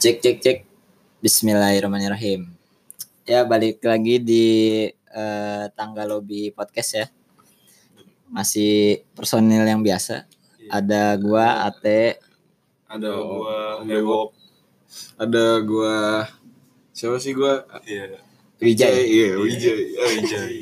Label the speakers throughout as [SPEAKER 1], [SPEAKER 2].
[SPEAKER 1] Cek cek cek. Bismillahirrahmanirrahim. Ya balik lagi di eh, tangga lobby podcast ya. Masih personil yang biasa.
[SPEAKER 2] Iya.
[SPEAKER 1] Ada gua Ate.
[SPEAKER 3] ada
[SPEAKER 2] Ada gua
[SPEAKER 3] Hewok ada gua siapa sih gua
[SPEAKER 2] Iya.
[SPEAKER 3] Wijay
[SPEAKER 1] Wijay.
[SPEAKER 3] iya Wijay Eh,
[SPEAKER 2] Wijay.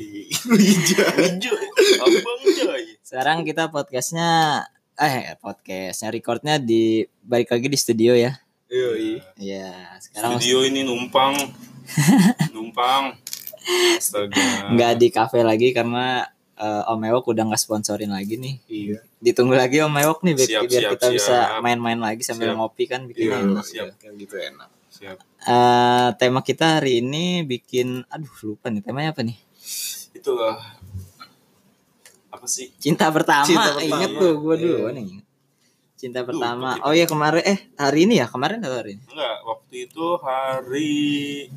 [SPEAKER 3] Wijay
[SPEAKER 2] Joy, Abang Joy.
[SPEAKER 1] Sekarang kita podcastnya eh podcastnya recordnya di balik lagi di studio ya.
[SPEAKER 3] Yoi.
[SPEAKER 1] Ya sekarang
[SPEAKER 2] Video ini numpang. Numpang. Astaga.
[SPEAKER 1] nggak di kafe lagi karena eh, Om Ewok udah nggak sponsorin lagi nih.
[SPEAKER 3] iya
[SPEAKER 1] Ditunggu lagi Om Ewok nih biar,
[SPEAKER 2] Siap,
[SPEAKER 1] biar
[SPEAKER 2] siap,
[SPEAKER 1] kita bisa
[SPEAKER 2] siap.
[SPEAKER 1] main-main lagi sambil
[SPEAKER 2] Siap.
[SPEAKER 1] ngopi kan bikin
[SPEAKER 3] iya
[SPEAKER 1] enak.
[SPEAKER 3] siap
[SPEAKER 2] siap.
[SPEAKER 3] kan gitu enak
[SPEAKER 2] Siap.
[SPEAKER 1] Eh, tema kita hari ini bikin aduh lupa nih temanya apa nih
[SPEAKER 2] Itulah apa sih?
[SPEAKER 1] cinta pertama,
[SPEAKER 3] Cinta pertama.
[SPEAKER 1] inget tuh gue dulu
[SPEAKER 3] Iya.
[SPEAKER 1] nih cinta
[SPEAKER 2] Lupa
[SPEAKER 1] pertama
[SPEAKER 2] kita.
[SPEAKER 1] oh iya kemarin eh hari ini ya kemarin atau hari ini
[SPEAKER 2] Enggak, waktu itu hari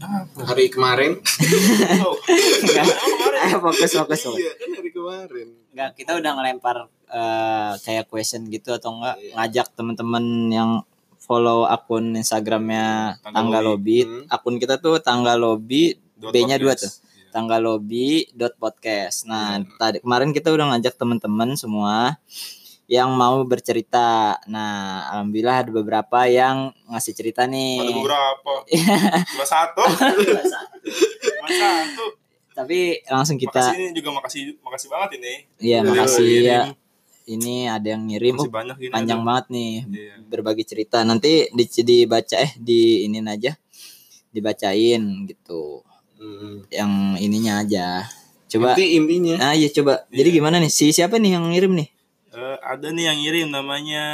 [SPEAKER 2] apa?
[SPEAKER 3] hari kemarin
[SPEAKER 2] Tahu.
[SPEAKER 1] Enggak.
[SPEAKER 2] Emang kemarin?
[SPEAKER 1] eh fokus fokus fokus.
[SPEAKER 3] iya kan hari kemarin
[SPEAKER 1] Enggak, kita udah ngelempar eh, kayak question gitu atau enggak
[SPEAKER 3] Iya.
[SPEAKER 1] ngajak temen-temen yang follow akun Instagramnya
[SPEAKER 2] Tangga
[SPEAKER 1] Tangga Lobby.
[SPEAKER 3] Hmm.
[SPEAKER 1] Akun kita tuh Tangga Lobby
[SPEAKER 2] Dot
[SPEAKER 1] B-nya dua
[SPEAKER 2] podcast. Iya.
[SPEAKER 1] tuh. Tangga Lobby dot podcast. Nah,
[SPEAKER 2] Hmm.
[SPEAKER 1] tadi kemarin kita udah ngajak temen-temen semua yang mau bercerita. Nah, alhamdulillah ada beberapa yang ngasih cerita nih.
[SPEAKER 2] Ada beberapa. Cuma satu. Cuma satu.
[SPEAKER 1] Tapi langsung
[SPEAKER 2] Makasih
[SPEAKER 1] kita
[SPEAKER 2] ini juga makasih makasih banget ini.
[SPEAKER 1] ya
[SPEAKER 3] Iya,
[SPEAKER 1] makasih
[SPEAKER 2] Ini
[SPEAKER 1] ya. Ini ada yang ngirim. Oh,
[SPEAKER 2] Masih banyak ini.
[SPEAKER 1] panjang
[SPEAKER 2] ada.
[SPEAKER 1] banget nih
[SPEAKER 2] Iya.
[SPEAKER 1] berbagi cerita nanti di, dibaca eh di ini aja dibacain gitu
[SPEAKER 3] Hmm.
[SPEAKER 1] yang ininya aja coba
[SPEAKER 3] Inti intinya
[SPEAKER 1] ah iya coba jadi gimana nih si siapa nih yang ngirim nih
[SPEAKER 2] Eh, ada nih yang ngirim namanya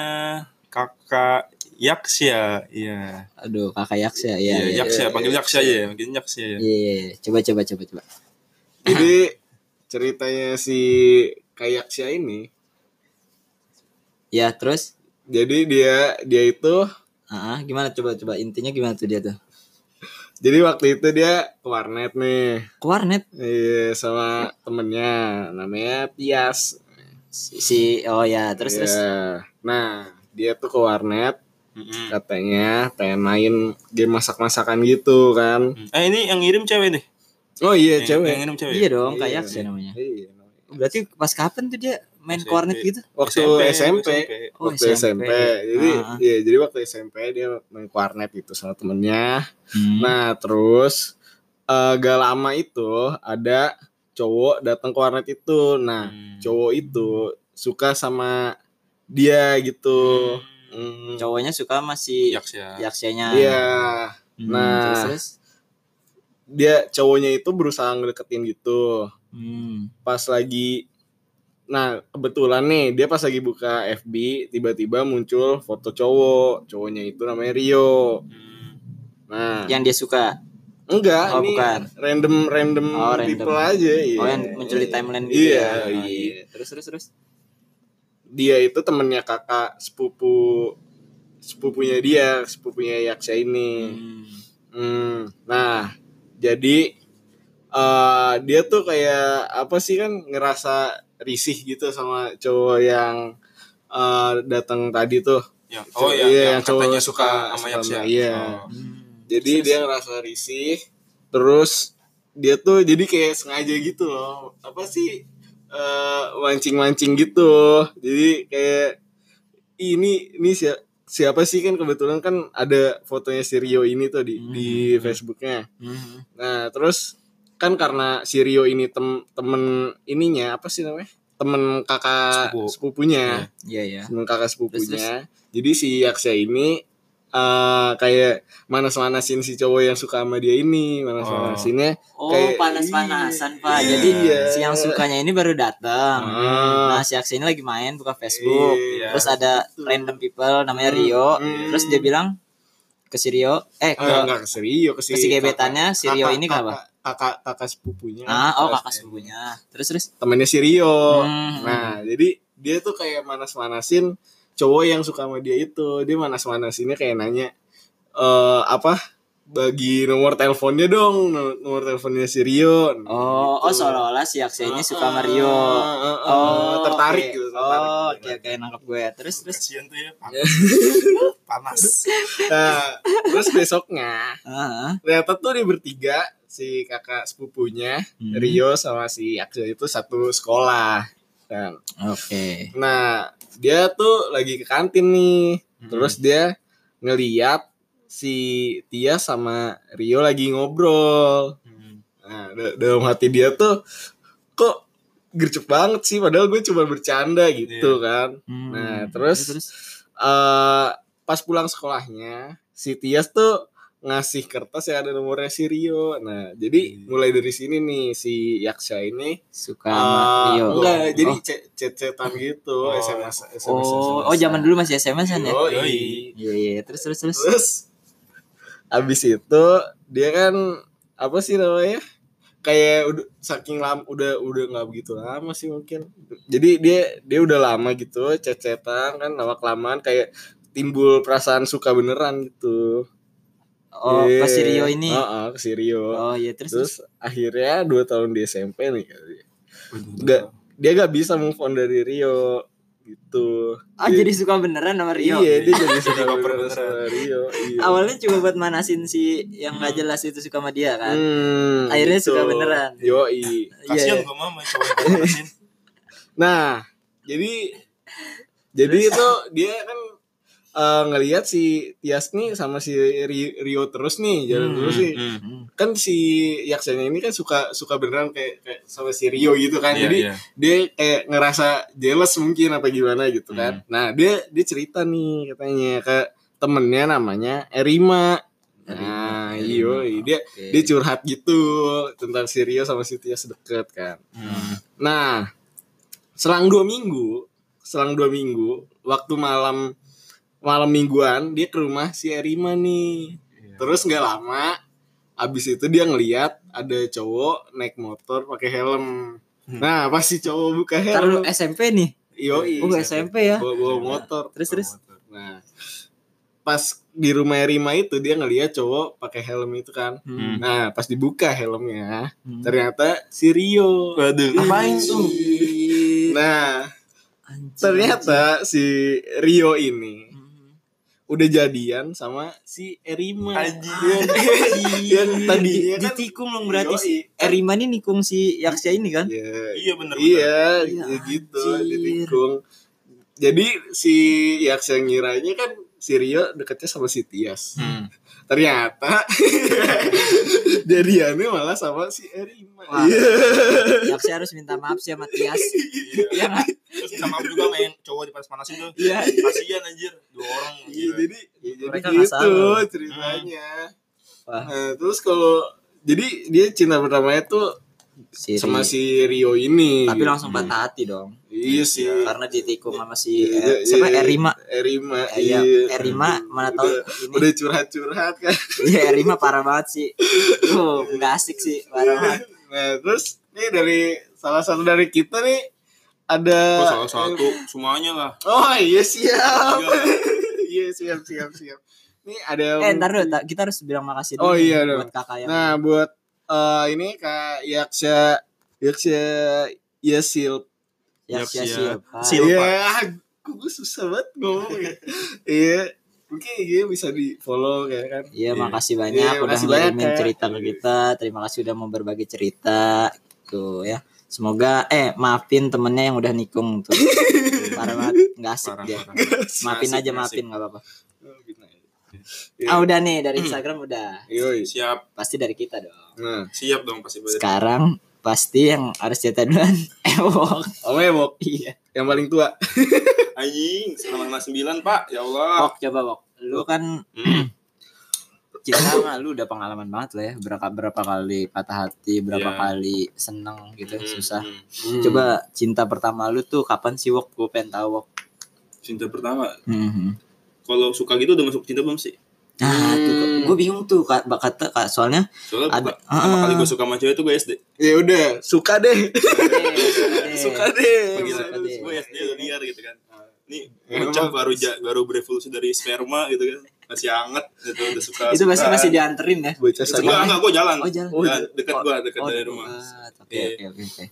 [SPEAKER 2] kakak Yaksya, iya.
[SPEAKER 1] aduh kakak yaksa ya
[SPEAKER 2] Iya,
[SPEAKER 1] iya iya
[SPEAKER 2] Yaksya,
[SPEAKER 3] iya,
[SPEAKER 2] panggil
[SPEAKER 3] iya.
[SPEAKER 2] Yaksya aja ya, panggil Yaksya ya.
[SPEAKER 1] Iya, coba coba coba coba
[SPEAKER 3] jadi ceritanya si kayak Syah ini
[SPEAKER 1] ya terus
[SPEAKER 3] jadi dia dia itu
[SPEAKER 1] ah ah, gimana coba coba intinya gimana tuh dia tuh
[SPEAKER 3] jadi waktu itu dia ke warnet nih
[SPEAKER 1] ke warnet
[SPEAKER 3] Iya sama temennya namanya Tias.
[SPEAKER 1] si, si- oh ya terus terus
[SPEAKER 3] Iya. Nah dia tuh ke warnet
[SPEAKER 2] Mm-mm.
[SPEAKER 3] katanya pengen main game masak-masakan gitu kan.
[SPEAKER 2] Eh ini yang ngirim cewek nih.
[SPEAKER 3] Oh iya
[SPEAKER 2] Yang-
[SPEAKER 3] cewek.
[SPEAKER 2] Yang ngirim cewek.
[SPEAKER 1] iya dong
[SPEAKER 3] Iya.
[SPEAKER 1] kayak yaksa namanya
[SPEAKER 3] Iya.
[SPEAKER 1] berarti pas kapan tuh dia main ke
[SPEAKER 2] SMP.
[SPEAKER 1] warnet gitu
[SPEAKER 3] Waktu SMP.
[SPEAKER 1] Oh,
[SPEAKER 3] waktu SMP.
[SPEAKER 1] SMP.
[SPEAKER 3] Jadi
[SPEAKER 1] Ah.
[SPEAKER 3] iya jadi waktu SMP dia main ke warnet gitu sama temennya.
[SPEAKER 1] Hmm.
[SPEAKER 3] Nah terus eh, gak lama itu ada cowok datang ke warnet itu. Nah
[SPEAKER 2] Hmm.
[SPEAKER 3] cowok itu suka sama dia gitu. Hmm.
[SPEAKER 1] cowoknya suka masih
[SPEAKER 2] Yaksya.
[SPEAKER 1] yaksanya
[SPEAKER 3] Iya.
[SPEAKER 1] Hmm,
[SPEAKER 3] Nah.
[SPEAKER 1] terus, terus?
[SPEAKER 3] Dia cowoknya itu berusaha ngedeketin gitu.
[SPEAKER 1] Hmm.
[SPEAKER 3] Pas lagi Nah, kebetulan nih dia pas lagi buka FB tiba-tiba muncul foto cowok. Cowoknya itu namanya Rio.
[SPEAKER 2] Hmm.
[SPEAKER 3] Nah,
[SPEAKER 1] Yang dia suka.
[SPEAKER 3] enggak
[SPEAKER 1] Ya. Oh,
[SPEAKER 3] Ah, ini
[SPEAKER 1] bukan.
[SPEAKER 3] random random
[SPEAKER 1] Oh, random.
[SPEAKER 3] people aja iya.
[SPEAKER 1] Oh, yang muncul di timeline gitu
[SPEAKER 3] iya,
[SPEAKER 1] ya. Oh,
[SPEAKER 3] iya.
[SPEAKER 1] iya. Terus terus terus.
[SPEAKER 3] Dia itu temennya kakak sepupu sepupunya dia, sepupunya Yaksa ini.
[SPEAKER 1] Hmm.
[SPEAKER 3] Hmm, nah, jadi eh dia tuh kayak apa sih kan ngerasa risih gitu sama cowok yang eh datang tadi tuh.
[SPEAKER 2] Ya. Oh iya,
[SPEAKER 3] Iya,
[SPEAKER 2] yang
[SPEAKER 3] yang cowok
[SPEAKER 2] katanya
[SPEAKER 3] suka
[SPEAKER 2] suka sama
[SPEAKER 3] sama-
[SPEAKER 2] Yaksya.
[SPEAKER 3] iya.
[SPEAKER 2] Oh.
[SPEAKER 3] Jadi dia ngerasa risih, terus dia tuh jadi kayak sengaja gitu loh. Apa sih eh mancing-mancing gitu. Jadi kayak ini ini siapa siapa sih kan kebetulan kan ada fotonya si Rio ini tuh di di
[SPEAKER 1] Hmm.
[SPEAKER 3] Facebooknya.
[SPEAKER 1] Hmm.
[SPEAKER 3] Nah, terus kan karena si Rio ini tem temen ininya apa sih namanya? Temen kakak
[SPEAKER 2] Sepupu.
[SPEAKER 3] sepupunya,
[SPEAKER 1] Iya ya.
[SPEAKER 3] temen kakak sepupunya. Jadi si Yaksa ini eh kayak manas-manasin si cowok yang suka sama dia ini, manas-manasinnya.
[SPEAKER 1] Oh,
[SPEAKER 3] Kayak-
[SPEAKER 1] panas-panasan, Pak.
[SPEAKER 2] Iya.
[SPEAKER 1] Jadi si yang sukanya ini baru datang.
[SPEAKER 3] Ah,
[SPEAKER 1] Nah, si Aksi ini lagi main buka Facebook.
[SPEAKER 3] Iya,
[SPEAKER 1] Terus ada random people namanya Rio.
[SPEAKER 3] Hmm.
[SPEAKER 1] Terus dia bilang ke si Rio, eh
[SPEAKER 3] enggak,
[SPEAKER 1] ke
[SPEAKER 3] enggak ke si Rio, ke si,
[SPEAKER 1] ke si gebetannya, si Rio
[SPEAKER 3] kakak-
[SPEAKER 1] ini kenapa?
[SPEAKER 3] Kakak, kakak, kakak sepupunya.
[SPEAKER 1] Ah, oh
[SPEAKER 3] Terus
[SPEAKER 1] kakak sepupunya. Terus terus.
[SPEAKER 3] Temennya si Rio.
[SPEAKER 1] Hmm.
[SPEAKER 3] Nah, jadi dia tuh kayak manas-manasin cowok yang suka sama dia itu. Dia manas-manasinnya kayak nanya eh apa? Bagi nomor teleponnya dong, no- nomor teleponnya si Rio. Nah,
[SPEAKER 1] Oh, oh
[SPEAKER 3] gitu.
[SPEAKER 1] seolah-olah si Aksi ini suka sama
[SPEAKER 3] Ah,
[SPEAKER 1] Rio. Oh,
[SPEAKER 3] ah, ah, tertarik
[SPEAKER 1] oke.
[SPEAKER 3] gitu, tertarik.
[SPEAKER 1] Oh,
[SPEAKER 3] Iya.
[SPEAKER 1] oke oke nangkap gue. Terus terus
[SPEAKER 2] Kasian tuh ya, panas. panas.
[SPEAKER 3] Nah, Terus besoknya
[SPEAKER 1] Ah,
[SPEAKER 3] ternyata tuh dia bertiga si kakak sepupunya
[SPEAKER 1] hmm.
[SPEAKER 3] Rio sama si Axel itu satu sekolah. Dan-
[SPEAKER 1] Oke.
[SPEAKER 3] Nah, dia tuh lagi ke kantin nih. Terus dia ngeliat si Tia sama Rio lagi ngobrol.
[SPEAKER 2] Hmm.
[SPEAKER 3] Nah, da- dalam hati dia tuh kok gercep banget sih padahal gue cuma bercanda gitu kan.
[SPEAKER 1] Hmm,
[SPEAKER 3] Nah, terus, eh, pas pulang sekolahnya si Tias tuh ngasih kertas yang ada nomornya si Rio. Nah, jadi
[SPEAKER 2] Hmm.
[SPEAKER 3] mulai dari sini nih si Yaksha ini
[SPEAKER 1] suka sama
[SPEAKER 3] eh,
[SPEAKER 1] Rio.
[SPEAKER 3] enggak,
[SPEAKER 1] Oh.
[SPEAKER 3] jadi ce- cet-cetan gitu,
[SPEAKER 2] Oh.
[SPEAKER 3] SMS SMS.
[SPEAKER 1] Oh, oh zaman dulu masih SMS-an ya?
[SPEAKER 3] Yoi.
[SPEAKER 2] Yoi.
[SPEAKER 1] Iya, iya, terus terus terus.
[SPEAKER 3] Terus abis itu dia kan apa sih namanya? Kayak udah saking lama udah udah nggak begitu lama sih mungkin. Jadi dia dia udah lama gitu cecetan kan lama kelamaan kayak timbul perasaan suka beneran gitu.
[SPEAKER 1] Oh,
[SPEAKER 3] Iya.
[SPEAKER 1] pas si Rio ini.
[SPEAKER 3] Heeh, ke si Rio.
[SPEAKER 1] Oh, iya terus terus.
[SPEAKER 3] Terus akhirnya dua tahun di SMP nih Enggak. Dia gak bisa move on dari Rio gitu.
[SPEAKER 1] Oh, jadi suka beneran sama Rio.
[SPEAKER 3] Iya, dia jadi
[SPEAKER 2] Jadi
[SPEAKER 3] suka
[SPEAKER 2] baper
[SPEAKER 3] beneran sama Rio. Iya.
[SPEAKER 1] Awalnya cuma buat manasin si yang gak jelas itu suka sama dia kan.
[SPEAKER 3] Hmm,
[SPEAKER 1] Akhirnya suka beneran.
[SPEAKER 3] Yoi.
[SPEAKER 2] Kasihan
[SPEAKER 1] Iya.
[SPEAKER 2] gue mama coba ngatasin.
[SPEAKER 3] Nah, jadi jadi itu dia kan eh, ngelihat si Tias nih sama si Ri- Rio terus nih jalan
[SPEAKER 2] Hmm,
[SPEAKER 3] terus sih. Kan si Yaksanya ini kan suka suka beneran kayak, kayak sama si Rio gitu
[SPEAKER 2] Iya,
[SPEAKER 3] kan. jadi dia kayak ngerasa jealous mungkin apa gimana gitu kan. Nah, dia dia cerita nih katanya ke temennya namanya Erima. Nah, iyo, dia
[SPEAKER 1] Oke.
[SPEAKER 3] dia curhat gitu tentang si Rio sama si Tias deket kan.
[SPEAKER 2] Hmm.
[SPEAKER 3] Nah, selang dua minggu, selang dua minggu, waktu malam malam mingguan dia ke rumah si Erima nih.
[SPEAKER 2] Iya,
[SPEAKER 3] Terus nggak lama, abis itu dia ngeliat ada cowok naik motor pakai helm.
[SPEAKER 2] Hmm.
[SPEAKER 3] Nah, pas si cowok buka
[SPEAKER 1] Ntar lu
[SPEAKER 3] helm,
[SPEAKER 1] SMP nih.
[SPEAKER 3] yoi,
[SPEAKER 1] Oh, nggak SMP ya.
[SPEAKER 3] bawa, bawa motor.
[SPEAKER 1] Terus terus.
[SPEAKER 3] Nah, pas di rumah Erima itu dia ngeliat cowok pakai helm itu kan.
[SPEAKER 2] Hmm.
[SPEAKER 3] Nah, pas dibuka helmnya,
[SPEAKER 1] Hmm.
[SPEAKER 3] ternyata si Rio.
[SPEAKER 2] Waduh.
[SPEAKER 1] Apain tuh?
[SPEAKER 3] Nah,
[SPEAKER 1] Anjing.
[SPEAKER 3] ternyata si Rio ini
[SPEAKER 1] Hmm.
[SPEAKER 3] udah jadian sama si Erima. Iya, kan?
[SPEAKER 2] Anjing.
[SPEAKER 3] Yang tadinya kan
[SPEAKER 1] Iya, ditikung dong berarti
[SPEAKER 3] Yoi.
[SPEAKER 1] si Erima ini nikung si Yaksya ini kan?
[SPEAKER 3] Iya,
[SPEAKER 2] Iya bener bener.
[SPEAKER 3] iya,
[SPEAKER 1] Ya,
[SPEAKER 3] iya gitu,
[SPEAKER 1] anjir.
[SPEAKER 3] ditikung. Jadi si Yaksa ngiranya kan si Rio deketnya sama si Tias.
[SPEAKER 2] Hmm.
[SPEAKER 3] Ternyata jadiannya malah sama si Erima.
[SPEAKER 1] Wah.
[SPEAKER 3] Iya.
[SPEAKER 1] Yaksya harus minta maaf sih sama Tias. kan?
[SPEAKER 2] Iya. Terus minta maaf juga sama yang cowok dipanas-panasin tuh.
[SPEAKER 1] Iya.
[SPEAKER 2] Kasihan anjir. Dua orang.
[SPEAKER 3] Iya,
[SPEAKER 2] gila.
[SPEAKER 3] jadi ya, jadi
[SPEAKER 1] Mereka nggak
[SPEAKER 3] gitu
[SPEAKER 1] salah. Hmm.
[SPEAKER 3] ceritanya.
[SPEAKER 1] Wah.
[SPEAKER 3] Nah, terus kalau jadi dia cinta pertamanya tuh
[SPEAKER 1] Si Ri-
[SPEAKER 3] sama
[SPEAKER 1] Hmm.
[SPEAKER 3] si Rio ini.
[SPEAKER 1] Iya, Tapi
[SPEAKER 3] gitu.
[SPEAKER 1] langsung patah hati dong.
[SPEAKER 3] Iya sih.
[SPEAKER 1] Karena ditikung sama si
[SPEAKER 3] Iya,
[SPEAKER 1] eh, siapa
[SPEAKER 3] iya.
[SPEAKER 1] Erima.
[SPEAKER 3] Erima.
[SPEAKER 1] Iya,
[SPEAKER 3] iya.
[SPEAKER 1] Erima mana tahu
[SPEAKER 3] Udah,
[SPEAKER 1] ini.
[SPEAKER 3] udah curhat-curhat kan.
[SPEAKER 1] Iya, Erima parah banget sih. Tuh, enggak asik sih, parah banget.
[SPEAKER 3] Nah, terus nih dari salah satu dari kita nih ada
[SPEAKER 2] Kok
[SPEAKER 1] Oh,
[SPEAKER 2] salah satu semuanya lah.
[SPEAKER 3] Oh, iya siap.
[SPEAKER 2] Iya.
[SPEAKER 3] Iya, siap siap siap. Nih ada
[SPEAKER 1] Eh, ntar dulu, ta- kita harus bilang makasih dulu
[SPEAKER 3] Oh,
[SPEAKER 1] nih
[SPEAKER 3] iya, dong.
[SPEAKER 1] buat kakak ya. yang
[SPEAKER 3] Nah, buat eh, ini Kak Yaksa Yaksa Yasil.
[SPEAKER 1] Yaksya
[SPEAKER 2] Yaksya.
[SPEAKER 1] Silpa.
[SPEAKER 2] Sil- Silpa.
[SPEAKER 3] Iya, kok gue susah banget ngomong ya. Iya. Mungkin dia bisa di-follow kayak kan.
[SPEAKER 1] Iya,
[SPEAKER 2] Iya.
[SPEAKER 1] makasih
[SPEAKER 3] Iya,
[SPEAKER 1] banyak udah
[SPEAKER 3] makasih banyak, eh.
[SPEAKER 1] ngirimin
[SPEAKER 3] Kak.
[SPEAKER 1] cerita ke kita. Terima kasih udah mau berbagi cerita. Tuh ya. Semoga eh maafin temennya yang udah nikung tuh. Parah banget, enggak asik
[SPEAKER 2] Parah
[SPEAKER 1] dia.
[SPEAKER 2] parah.
[SPEAKER 1] Maafin
[SPEAKER 3] Asik,
[SPEAKER 1] aja,
[SPEAKER 3] asik.
[SPEAKER 1] maafin enggak apa-apa.
[SPEAKER 3] Oh, gitu Iya. aja.
[SPEAKER 1] Ah, udah nih dari
[SPEAKER 3] Hmm.
[SPEAKER 1] Instagram udah.
[SPEAKER 3] Yoi.
[SPEAKER 2] Siap.
[SPEAKER 1] Pasti dari kita dong.
[SPEAKER 3] iya. Nah,
[SPEAKER 2] Siap dong pasti boleh.
[SPEAKER 1] Sekarang pasti yang harus cerita duluan Ewok.
[SPEAKER 3] Om Ewok
[SPEAKER 1] Iya.
[SPEAKER 3] yang paling tua.
[SPEAKER 2] Anjing, selama kelas 9, Pak. Ya
[SPEAKER 3] Ah.
[SPEAKER 2] Allah.
[SPEAKER 1] Wok coba Wok. Lu kan
[SPEAKER 2] Hmm.
[SPEAKER 1] cinta sama lu udah pengalaman banget lah ya berapa berapa kali patah hati berapa
[SPEAKER 2] Iya.
[SPEAKER 1] kali seneng gitu
[SPEAKER 2] Hmm,
[SPEAKER 1] susah
[SPEAKER 2] hmm.
[SPEAKER 1] coba cinta pertama lu tuh kapan sih wok gue pengen tahu wok
[SPEAKER 2] Cinta pertama.
[SPEAKER 1] hmm.
[SPEAKER 2] Kalau suka gitu udah masuk cinta belum sih?
[SPEAKER 1] nah
[SPEAKER 3] Hmm.
[SPEAKER 1] gue bingung tuh kak Bak- kata kak soalnya
[SPEAKER 2] Soalnya
[SPEAKER 1] Ada-
[SPEAKER 2] buka- pertama
[SPEAKER 1] Ah.
[SPEAKER 2] kali gue suka sama cewek itu gue SD.
[SPEAKER 3] Ya udah, suka deh.
[SPEAKER 1] Eh,
[SPEAKER 3] suka deh.
[SPEAKER 1] Bagi
[SPEAKER 3] Suka
[SPEAKER 1] suka
[SPEAKER 3] deh.
[SPEAKER 1] deh.
[SPEAKER 2] Iya, Gue SD udah liar gitu kan.
[SPEAKER 1] Ah.
[SPEAKER 2] Nih,
[SPEAKER 3] Iya, Emang.
[SPEAKER 2] bocah baru ja, baru berevolusi dari sperma gitu kan. Masih anget gitu udah suka.
[SPEAKER 1] itu masih
[SPEAKER 2] suka.
[SPEAKER 1] masih dianterin ya
[SPEAKER 3] Bocah
[SPEAKER 2] Itu
[SPEAKER 3] sadar.
[SPEAKER 2] enggak enggak gue jalan. Ah,
[SPEAKER 1] oh jalan
[SPEAKER 3] Oh,
[SPEAKER 2] Jalan, dekat gue, dekat
[SPEAKER 1] Oh,
[SPEAKER 2] dari
[SPEAKER 1] dekat.
[SPEAKER 2] rumah.
[SPEAKER 1] oke oke
[SPEAKER 3] Iya.
[SPEAKER 1] oke oke.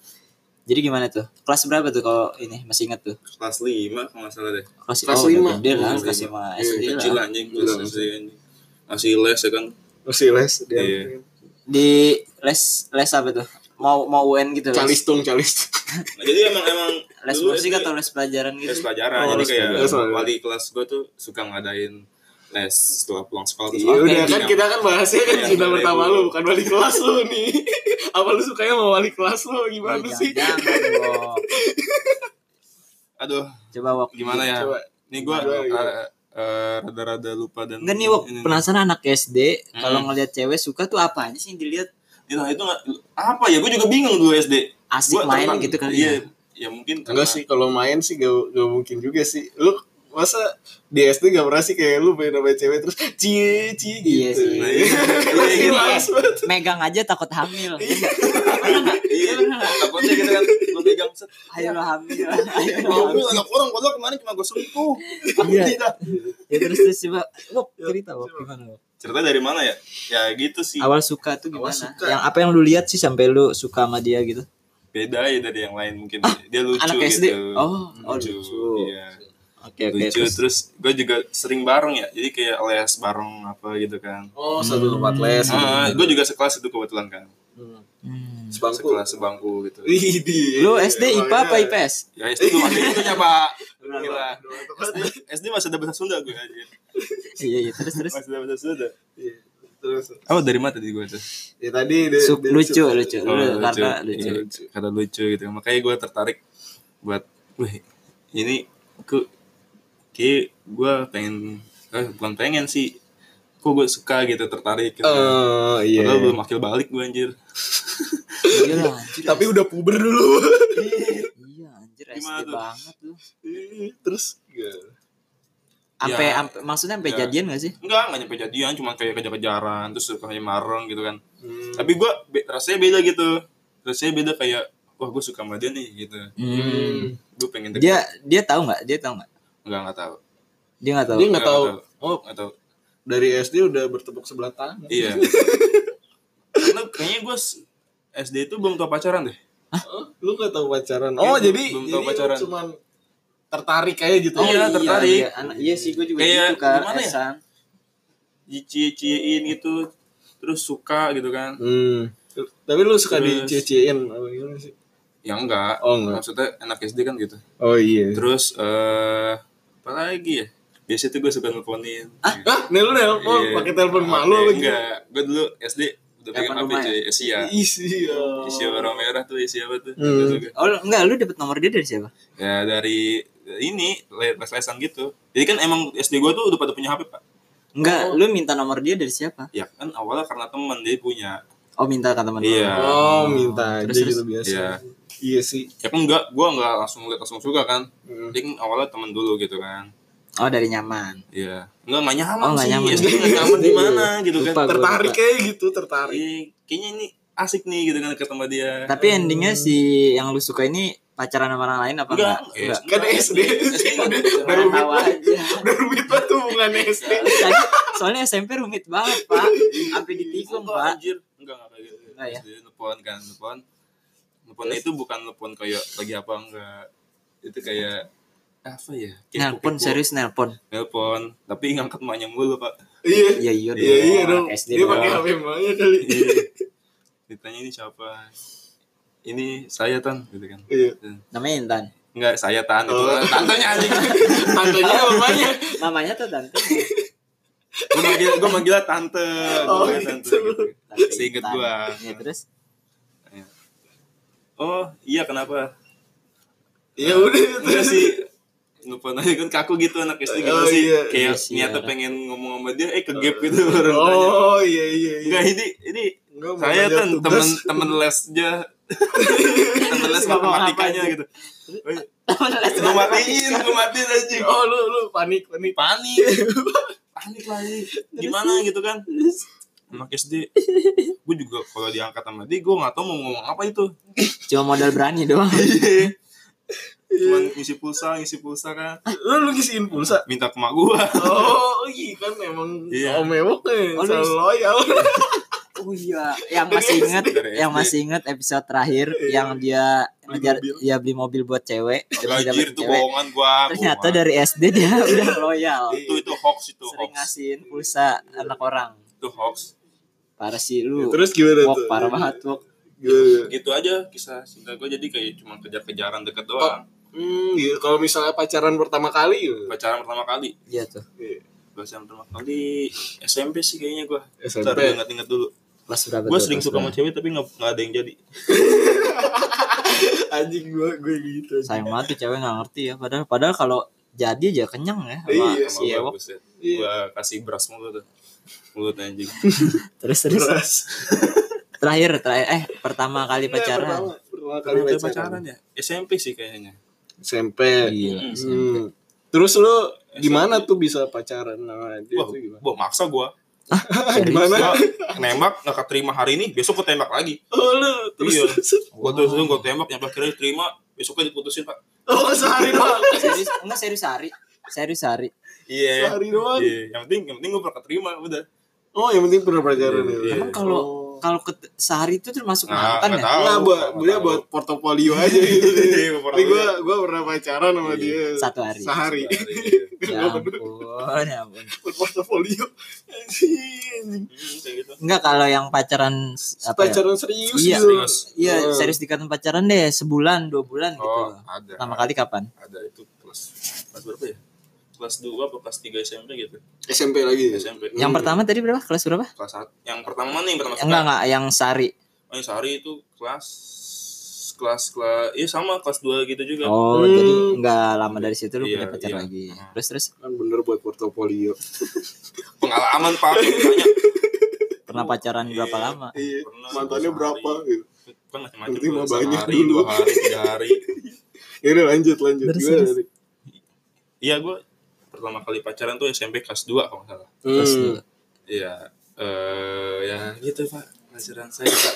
[SPEAKER 1] jadi gimana tuh kelas berapa tuh kalau ini masih inget tuh
[SPEAKER 2] Kelas 5 kalau enggak salah deh.
[SPEAKER 1] kelas,
[SPEAKER 3] Kelas
[SPEAKER 1] oh, udah
[SPEAKER 3] lima.
[SPEAKER 1] gede lah
[SPEAKER 2] Kelas
[SPEAKER 1] kelas
[SPEAKER 2] lima.
[SPEAKER 1] lima
[SPEAKER 3] Iya,
[SPEAKER 1] SD
[SPEAKER 2] Kecil
[SPEAKER 1] lah
[SPEAKER 2] anjing
[SPEAKER 3] Gila,
[SPEAKER 2] kelas SD anjing. masih les ya kan
[SPEAKER 3] Masih les dia.
[SPEAKER 2] Iya.
[SPEAKER 1] Di les les apa tuh? Mau mau UN gitu. les?
[SPEAKER 3] Calistung, calis.
[SPEAKER 2] Nah, jadi emang emang
[SPEAKER 1] Les
[SPEAKER 2] dulu
[SPEAKER 1] musik
[SPEAKER 2] SD
[SPEAKER 1] atau les pelajaran gitu?
[SPEAKER 2] les pelajaran
[SPEAKER 3] Oh,
[SPEAKER 2] jadi
[SPEAKER 3] les
[SPEAKER 2] kayak
[SPEAKER 3] pelajaran.
[SPEAKER 2] wali kelas gue tuh suka ngadain les setelah pulang sekolah terus
[SPEAKER 3] Iya
[SPEAKER 2] apa
[SPEAKER 3] udah
[SPEAKER 2] gitu.
[SPEAKER 3] kan kita kan bahasnya kan
[SPEAKER 2] Iya,
[SPEAKER 3] cinta
[SPEAKER 2] boleh,
[SPEAKER 3] pertama
[SPEAKER 2] boleh.
[SPEAKER 3] lu bukan wali kelas lu nih. Apa lu sukanya sama wali kelas lu
[SPEAKER 1] Wah,
[SPEAKER 3] gimana sih?
[SPEAKER 1] Jangan, Wok.
[SPEAKER 2] aduh
[SPEAKER 1] Coba wok.
[SPEAKER 2] gimana ya
[SPEAKER 3] Coba. iya.
[SPEAKER 2] ini gue
[SPEAKER 3] Gimana, gimana?
[SPEAKER 2] eh, rada-rada lupa dan
[SPEAKER 1] Enggak nih wok
[SPEAKER 2] ini.
[SPEAKER 1] penasaran anak SD kalau
[SPEAKER 2] Hmm.
[SPEAKER 1] ngelihat cewek suka tuh apanya sih yang dilihat?
[SPEAKER 2] itu Iya, nah, itu nggak- apa ya gue juga bingung dulu SD
[SPEAKER 1] Asik
[SPEAKER 2] Gua
[SPEAKER 1] main
[SPEAKER 2] tenang.
[SPEAKER 1] gitu kan
[SPEAKER 2] iya
[SPEAKER 1] ya.
[SPEAKER 2] ya mungkin
[SPEAKER 3] Enggak sih kalau main sih gak, gak mungkin juga sih. Lu masa di SD gak pernah sih kayak lu pengen sama cewek terus cie cie gitu.
[SPEAKER 1] Iya sih.
[SPEAKER 2] Nah, iya. Iya,
[SPEAKER 3] Pasti
[SPEAKER 2] gitu.
[SPEAKER 3] males banget.
[SPEAKER 1] Megang aja takut hamil.
[SPEAKER 2] iya takutnya gitu kan gue pegang set Iya,
[SPEAKER 1] Ayo lo hamil. Ayo lo hamil.
[SPEAKER 2] mobil anak Ya, orang padahal kemarin cuma gue sentuh
[SPEAKER 1] Iya.
[SPEAKER 2] Tidak.
[SPEAKER 1] Ya terus terus coba wok cerita wok gimana wok?
[SPEAKER 2] cerita dari mana ya ya gitu sih
[SPEAKER 1] Awal suka tuh gimana?
[SPEAKER 3] Awal suka.
[SPEAKER 1] Yang apa yang lu lihat sih sampai lu suka sama dia gitu?
[SPEAKER 2] beda ya dari yang lain mungkin dia lucu
[SPEAKER 1] Ah, anak SD.
[SPEAKER 2] gitu
[SPEAKER 1] Oh, oh,
[SPEAKER 2] lucu,
[SPEAKER 1] lucu.
[SPEAKER 2] Iya.
[SPEAKER 1] Oke oke.
[SPEAKER 2] lucu
[SPEAKER 1] terus.
[SPEAKER 2] terus gue juga sering bareng ya jadi kayak les bareng apa gitu kan
[SPEAKER 3] Oh, satu tempat les.
[SPEAKER 2] ah gue juga sekelas itu kebetulan kan
[SPEAKER 1] Hmm.
[SPEAKER 3] Sebangku.
[SPEAKER 2] sekelas sebangku gitu
[SPEAKER 3] Widih. Iya.
[SPEAKER 1] Lu SD IPA apa IPS?
[SPEAKER 2] ya SD belum ada itu ya pak Gila. SD masih ada bahasa Sunda gue aja
[SPEAKER 1] Iya iya terus terus.
[SPEAKER 2] masih ada bahasa Sunda
[SPEAKER 3] Iya. Terus
[SPEAKER 2] oh dari mana tadi gue tuh
[SPEAKER 3] ya tadi dia-
[SPEAKER 1] Su-
[SPEAKER 3] dia
[SPEAKER 1] lucu,
[SPEAKER 3] suka-
[SPEAKER 1] lucu.
[SPEAKER 2] Oh,
[SPEAKER 1] Lu karena
[SPEAKER 2] Iya,
[SPEAKER 1] lucu.
[SPEAKER 2] lucu. karena lucu gitu makanya gue tertarik buat wih ini aku kayak gue pengen eh, bukan pengen sih kok gue suka gitu tertarik gitu.
[SPEAKER 3] Eh, iya.
[SPEAKER 2] Padahal belum akil balik gue anjir
[SPEAKER 1] Iya lah, anjir.
[SPEAKER 3] Tapi udah puber dulu.
[SPEAKER 1] Iya anjir
[SPEAKER 2] Gimana
[SPEAKER 1] SD
[SPEAKER 2] tuh? Ya,
[SPEAKER 1] banget lu.
[SPEAKER 3] Terus ya.
[SPEAKER 1] Sampai
[SPEAKER 2] Ya.
[SPEAKER 1] sampai- maksudnya sampai
[SPEAKER 2] Ya.
[SPEAKER 1] jadian gak sih?
[SPEAKER 2] enggak nggak nyampe jadian cuma kayak kejar-kejaran terus suka kayak mareng gitu kan
[SPEAKER 3] Hmm.
[SPEAKER 2] tapi gue rasanya beda gitu rasanya beda kayak wah gue suka sama dia nih gitu
[SPEAKER 3] Hmm.
[SPEAKER 2] gue pengen deket
[SPEAKER 1] Dia dia tahu nggak? Dia tahu nggak?
[SPEAKER 2] enggak nggak tahu
[SPEAKER 1] Dia nggak tahu.
[SPEAKER 3] Dia nggak tahu. Oh,
[SPEAKER 2] nggak tahu
[SPEAKER 3] dari SD udah bertepuk sebelah tangan.
[SPEAKER 2] iya karena kayaknya gue SD itu belum tau pacaran deh
[SPEAKER 3] Oh, lu nggak tahu pacaran. Oh,
[SPEAKER 2] Iya,
[SPEAKER 3] jadi
[SPEAKER 2] belum
[SPEAKER 3] jadi
[SPEAKER 2] tahu
[SPEAKER 3] lu
[SPEAKER 2] pacaran.
[SPEAKER 3] cuman tertarik aja gitu.
[SPEAKER 2] Oh, iya, tertarik.
[SPEAKER 1] Iya, anak- iya sih gue juga
[SPEAKER 2] Kayak
[SPEAKER 1] gitu kan.
[SPEAKER 2] gimana ya?
[SPEAKER 1] Ehsan.
[SPEAKER 2] dicie-ciein gitu terus suka gitu kan
[SPEAKER 3] Hmm. Tapi lu suka
[SPEAKER 2] Terus.
[SPEAKER 3] dicuciin apa gimana sih?
[SPEAKER 2] ya enggak
[SPEAKER 3] Oh, enggak.
[SPEAKER 2] maksudnya anak SD kan gitu
[SPEAKER 3] Oh iya.
[SPEAKER 2] terus eh apa lagi ya biasanya tuh gue suka nelfonin
[SPEAKER 3] Hah, nih lu
[SPEAKER 2] Iya.
[SPEAKER 3] nelpon Ah, oh, pakai telepon
[SPEAKER 2] HP,
[SPEAKER 3] malu apa gimana?
[SPEAKER 2] enggak gue dulu SD udah pegang
[SPEAKER 1] Telepon
[SPEAKER 2] HP
[SPEAKER 1] rumah ya?
[SPEAKER 2] cuy Asia
[SPEAKER 3] Isi. ya.
[SPEAKER 2] Asia orang merah tuh Asia apa tuh
[SPEAKER 3] Hmm.
[SPEAKER 2] Gitu kan.
[SPEAKER 1] Oh lu- enggak, lu dapet nomor dia dari siapa?
[SPEAKER 2] ya dari ini le- les-lesan gitu jadi kan emang SD gue tuh udah pada punya HP pak Oh.
[SPEAKER 1] Enggak, lu minta nomor dia dari siapa?
[SPEAKER 2] ya kan awalnya karena temen dia punya
[SPEAKER 1] Oh minta ke teman lu.
[SPEAKER 2] Iya.
[SPEAKER 3] Oh, minta aja
[SPEAKER 1] Terus, terus.
[SPEAKER 3] gitu biasa.
[SPEAKER 2] Iya.
[SPEAKER 3] Iya sih.
[SPEAKER 2] ya kan enggak gue enggak langsung lihat langsung suka kan
[SPEAKER 3] Hmm.
[SPEAKER 2] jadi kan awalnya temen dulu gitu kan
[SPEAKER 1] Oh dari nyaman.
[SPEAKER 2] Iya. Enggak enggak nyaman
[SPEAKER 1] Oh, nggak
[SPEAKER 2] sih.
[SPEAKER 1] nyaman.
[SPEAKER 2] SD enggak nyaman di mana gitu kan.
[SPEAKER 1] Lupa gua,
[SPEAKER 3] Tertarik
[SPEAKER 1] lupa.
[SPEAKER 3] aja gitu, tertarik.
[SPEAKER 2] Iya, kayaknya ini asik nih gitu kan ketemu dia.
[SPEAKER 1] Tapi endingnya si yang lu suka ini pacaran sama orang lain apa
[SPEAKER 2] enggak, Iya.
[SPEAKER 1] enggak?
[SPEAKER 2] enggak.
[SPEAKER 3] Kan SD.
[SPEAKER 1] Cuman
[SPEAKER 3] Baru
[SPEAKER 1] tawa aja.
[SPEAKER 2] Iya.
[SPEAKER 3] Udah rumit banget hubungan SD.
[SPEAKER 1] Soalnya- Soalnya SMP rumit banget, Pak. Sampai ditikung,
[SPEAKER 2] Enggak,
[SPEAKER 1] Pak.
[SPEAKER 2] anjir. Enggak enggak kayak gitu.
[SPEAKER 1] Enggak ya?
[SPEAKER 2] SD nelpon kan, nelpon. Nelponnya itu bukan nelpon kayak lagi apa enggak. Itu kayak apa ya? Kepo-kepo.
[SPEAKER 1] Nelpon serius nelpon.
[SPEAKER 2] Nelpon, tapi ngangkat emaknya mulu, Pak.
[SPEAKER 3] Iya.
[SPEAKER 1] Iya iya dong.
[SPEAKER 3] Iya iya dong.
[SPEAKER 1] SD
[SPEAKER 3] Dia
[SPEAKER 1] dong.
[SPEAKER 3] pakai HP emaknya kali.
[SPEAKER 2] Iya. Ditanya ini siapa? Ini saya Tan gitu kan.
[SPEAKER 3] Iya.
[SPEAKER 1] Namanya Intan.
[SPEAKER 2] Enggak, saya Tan itu.
[SPEAKER 3] Oh.
[SPEAKER 2] Tantenya anjing.
[SPEAKER 3] Tantenya apa emaknya?
[SPEAKER 1] Mamanya tuh Tante.
[SPEAKER 2] gue manggil gue manggil tante gue
[SPEAKER 3] Oh,
[SPEAKER 2] manggil tante
[SPEAKER 3] gitu.
[SPEAKER 2] gitu. seinget
[SPEAKER 1] Intan.
[SPEAKER 2] gue
[SPEAKER 1] Ya terus
[SPEAKER 2] oh iya kenapa
[SPEAKER 3] Ya udah
[SPEAKER 2] enggak Iya sih nelfon aja kan kaku gitu anak SD gitu
[SPEAKER 3] Oh,
[SPEAKER 2] sih
[SPEAKER 3] iya.
[SPEAKER 1] Iya
[SPEAKER 2] kayak
[SPEAKER 1] sih,
[SPEAKER 2] niatnya
[SPEAKER 1] ya.
[SPEAKER 2] pengen ngomong sama dia eh kegap gitu baru nanya.
[SPEAKER 3] Oh iya iya iya.
[SPEAKER 2] enggak ini ini
[SPEAKER 3] Enggak, mau
[SPEAKER 2] saya
[SPEAKER 3] nanya
[SPEAKER 2] kan
[SPEAKER 3] tugas.
[SPEAKER 2] temen temen lesnya temen les
[SPEAKER 1] Ngomong apa
[SPEAKER 2] matematikanya
[SPEAKER 1] aja.
[SPEAKER 2] gitu gue matiin gue matiin aja
[SPEAKER 3] Oh lu lu panik panik.
[SPEAKER 2] panik panik lagi gimana gitu kan anak SD gue juga kalau diangkat sama dia gue nggak tahu mau ngomong apa itu
[SPEAKER 1] cuma modal berani doang.
[SPEAKER 2] cuman ngisi pulsa ngisi pulsa kan
[SPEAKER 3] Lu lu ngisiin pulsa.
[SPEAKER 2] minta ke mak gue
[SPEAKER 3] Oh iya kan emang
[SPEAKER 2] Iya.
[SPEAKER 3] om mewok nih
[SPEAKER 1] Oh, lu-
[SPEAKER 3] selalu loyal.
[SPEAKER 1] Oh iya, yang masih inget,
[SPEAKER 2] Dari
[SPEAKER 1] yang
[SPEAKER 2] SD.
[SPEAKER 1] masih inget episode terakhir
[SPEAKER 3] Iya.
[SPEAKER 1] yang dia
[SPEAKER 3] Beli
[SPEAKER 1] ngejar,
[SPEAKER 3] mobil.
[SPEAKER 1] dia beli mobil buat cewek, dia
[SPEAKER 2] Gila,
[SPEAKER 1] bisa dapat
[SPEAKER 2] anjir itu bohongan gua.
[SPEAKER 1] Ternyata
[SPEAKER 2] bohongan.
[SPEAKER 1] dari SD dia udah loyal,
[SPEAKER 2] itu itu hoax itu
[SPEAKER 1] sering
[SPEAKER 2] hoax.
[SPEAKER 1] ngasihin pulsa anak orang.
[SPEAKER 2] Itu hoax.
[SPEAKER 1] Parah sih lu.
[SPEAKER 3] Ya, Terus gimana
[SPEAKER 1] Wok,
[SPEAKER 3] tuh?
[SPEAKER 1] Iya. parah banget wok.
[SPEAKER 3] Gimana?
[SPEAKER 2] Gitu aja kisah cinta gua jadi kayak cuma kejar-kejaran deket doang.
[SPEAKER 3] Hmm, gitu. kalau misalnya pacaran pertama kali gitu.
[SPEAKER 2] Pacaran pertama kali.
[SPEAKER 1] Iya tuh.
[SPEAKER 2] Pacaran pertama kali SMP sih kayaknya gua.
[SPEAKER 3] SMP.
[SPEAKER 2] Ntar gua ingat-ingat dulu.
[SPEAKER 1] Kelas berapa?
[SPEAKER 2] Gua
[SPEAKER 1] tuh,
[SPEAKER 2] sering
[SPEAKER 1] kelas
[SPEAKER 2] suka sama
[SPEAKER 1] berapa?
[SPEAKER 2] cewek tapi nggak nggak ada yang jadi.
[SPEAKER 3] Anjing gua gue gitu.
[SPEAKER 1] Sayang banget tuh cewek nggak ngerti ya. Padahal padahal kalau jadi aja kenyang ya sama
[SPEAKER 3] Iya
[SPEAKER 1] si
[SPEAKER 2] Sama gua,
[SPEAKER 1] Ewok.
[SPEAKER 2] buset.
[SPEAKER 3] Iya.
[SPEAKER 2] Gua kasih beras mulu tuh. Mulut anjing.
[SPEAKER 1] Terus terus.
[SPEAKER 3] Keras.
[SPEAKER 1] Terakhir terakhir eh pertama kali pacaran.
[SPEAKER 3] Iya, Pertama, pertama kali
[SPEAKER 2] Pertama kali
[SPEAKER 3] pacaran.
[SPEAKER 2] pacaran ya? SMP sih kayaknya.
[SPEAKER 3] SMP.
[SPEAKER 1] Gila.
[SPEAKER 2] Mm.
[SPEAKER 1] SMP.
[SPEAKER 3] Hmm. Terus lu gimana tuh bisa pacaran sama dia
[SPEAKER 2] Wah,
[SPEAKER 3] tuh gimana?
[SPEAKER 2] gua maksa gua. Gua
[SPEAKER 3] Gimana?
[SPEAKER 2] nembak nggak keterima hari ini, besok gua tembak lagi.
[SPEAKER 3] Oh, lu terus
[SPEAKER 2] Iya.
[SPEAKER 3] terus.
[SPEAKER 2] Gua terus gua tembak yang akhirnya diterima, besoknya diputusin, Pak.
[SPEAKER 3] Oh, sehari doang.
[SPEAKER 1] Serius enggak serius hari. Serius hari.
[SPEAKER 2] Iya.
[SPEAKER 3] Sehari doang.
[SPEAKER 2] Iya, yang penting yang penting gue pernah keterima udah.
[SPEAKER 3] Oh, yang penting pernah pacaran.
[SPEAKER 2] Iya,
[SPEAKER 3] ya.
[SPEAKER 2] iya.
[SPEAKER 1] Emang kalau kalau ket- sehari itu termasuk
[SPEAKER 2] Nah,
[SPEAKER 1] mantan ya?
[SPEAKER 2] nggak tahu.
[SPEAKER 3] Nah,
[SPEAKER 2] nggak
[SPEAKER 3] buat dia
[SPEAKER 2] tahu.
[SPEAKER 3] buat portofolio aja gitu.
[SPEAKER 2] Iya,
[SPEAKER 3] Tapi
[SPEAKER 2] portofolio.
[SPEAKER 3] gue gue pernah pacaran sama
[SPEAKER 2] Iya.
[SPEAKER 3] dia
[SPEAKER 1] Satu hari.
[SPEAKER 3] sehari.
[SPEAKER 1] Ya
[SPEAKER 2] Iya.
[SPEAKER 1] ampun, ya ampun.
[SPEAKER 3] Buat portofolio. Anjing.
[SPEAKER 2] Hmm, kayak gitu.
[SPEAKER 1] Enggak kalau yang pacaran apa ya?
[SPEAKER 3] Pacaran serius
[SPEAKER 1] Iya.
[SPEAKER 3] gitu.
[SPEAKER 2] Serius.
[SPEAKER 1] Iya,
[SPEAKER 3] Hmm.
[SPEAKER 1] serius dikatakan pacaran deh, sebulan, dua bulan gitu.
[SPEAKER 2] Oh, ada.
[SPEAKER 1] Pertama kali kapan?
[SPEAKER 2] Ada itu kelas kelas berapa ya? Kelas 2 apa kelas 3 SMP gitu.
[SPEAKER 3] SMP lagi.
[SPEAKER 2] SMP.
[SPEAKER 1] Yang pertama tadi berapa? Kelas berapa?
[SPEAKER 2] Kelas sat- yang pertama mana yang pertama?
[SPEAKER 1] Enggak, enggak, yang sehari.
[SPEAKER 2] Oh, yang sehari itu kelas kelas kelas iya sama kelas 2 gitu juga.
[SPEAKER 1] Oh,
[SPEAKER 3] Hmm.
[SPEAKER 1] jadi enggak lama dari situ lu
[SPEAKER 2] Iya,
[SPEAKER 1] punya pacar
[SPEAKER 2] iya.
[SPEAKER 1] lagi.
[SPEAKER 2] Hmm.
[SPEAKER 1] Terus terus
[SPEAKER 3] Kan bener buat portofolio.
[SPEAKER 2] Pengalaman Pak banyak.
[SPEAKER 1] pernah pacaran berapa
[SPEAKER 2] Iya.
[SPEAKER 1] lama?
[SPEAKER 3] Iya.
[SPEAKER 2] Pernah
[SPEAKER 3] Mantannya
[SPEAKER 2] sehari.
[SPEAKER 3] berapa gitu.
[SPEAKER 2] Kan macam-macam.
[SPEAKER 3] Penting mah
[SPEAKER 2] tuh,
[SPEAKER 3] banyak
[SPEAKER 2] sehari,
[SPEAKER 3] dulu.
[SPEAKER 2] dua hari, tiga hari.
[SPEAKER 3] Ini lanjut lanjut.
[SPEAKER 1] Terus,
[SPEAKER 3] Gimana
[SPEAKER 1] terus.
[SPEAKER 3] nih?
[SPEAKER 2] Iya, gue pertama kali pacaran tuh SMP kelas 2 kalau nggak salah.
[SPEAKER 1] Terus
[SPEAKER 3] Hmm.
[SPEAKER 1] lu
[SPEAKER 2] Iya, eh ya gitu pak. Pacaran saya pak.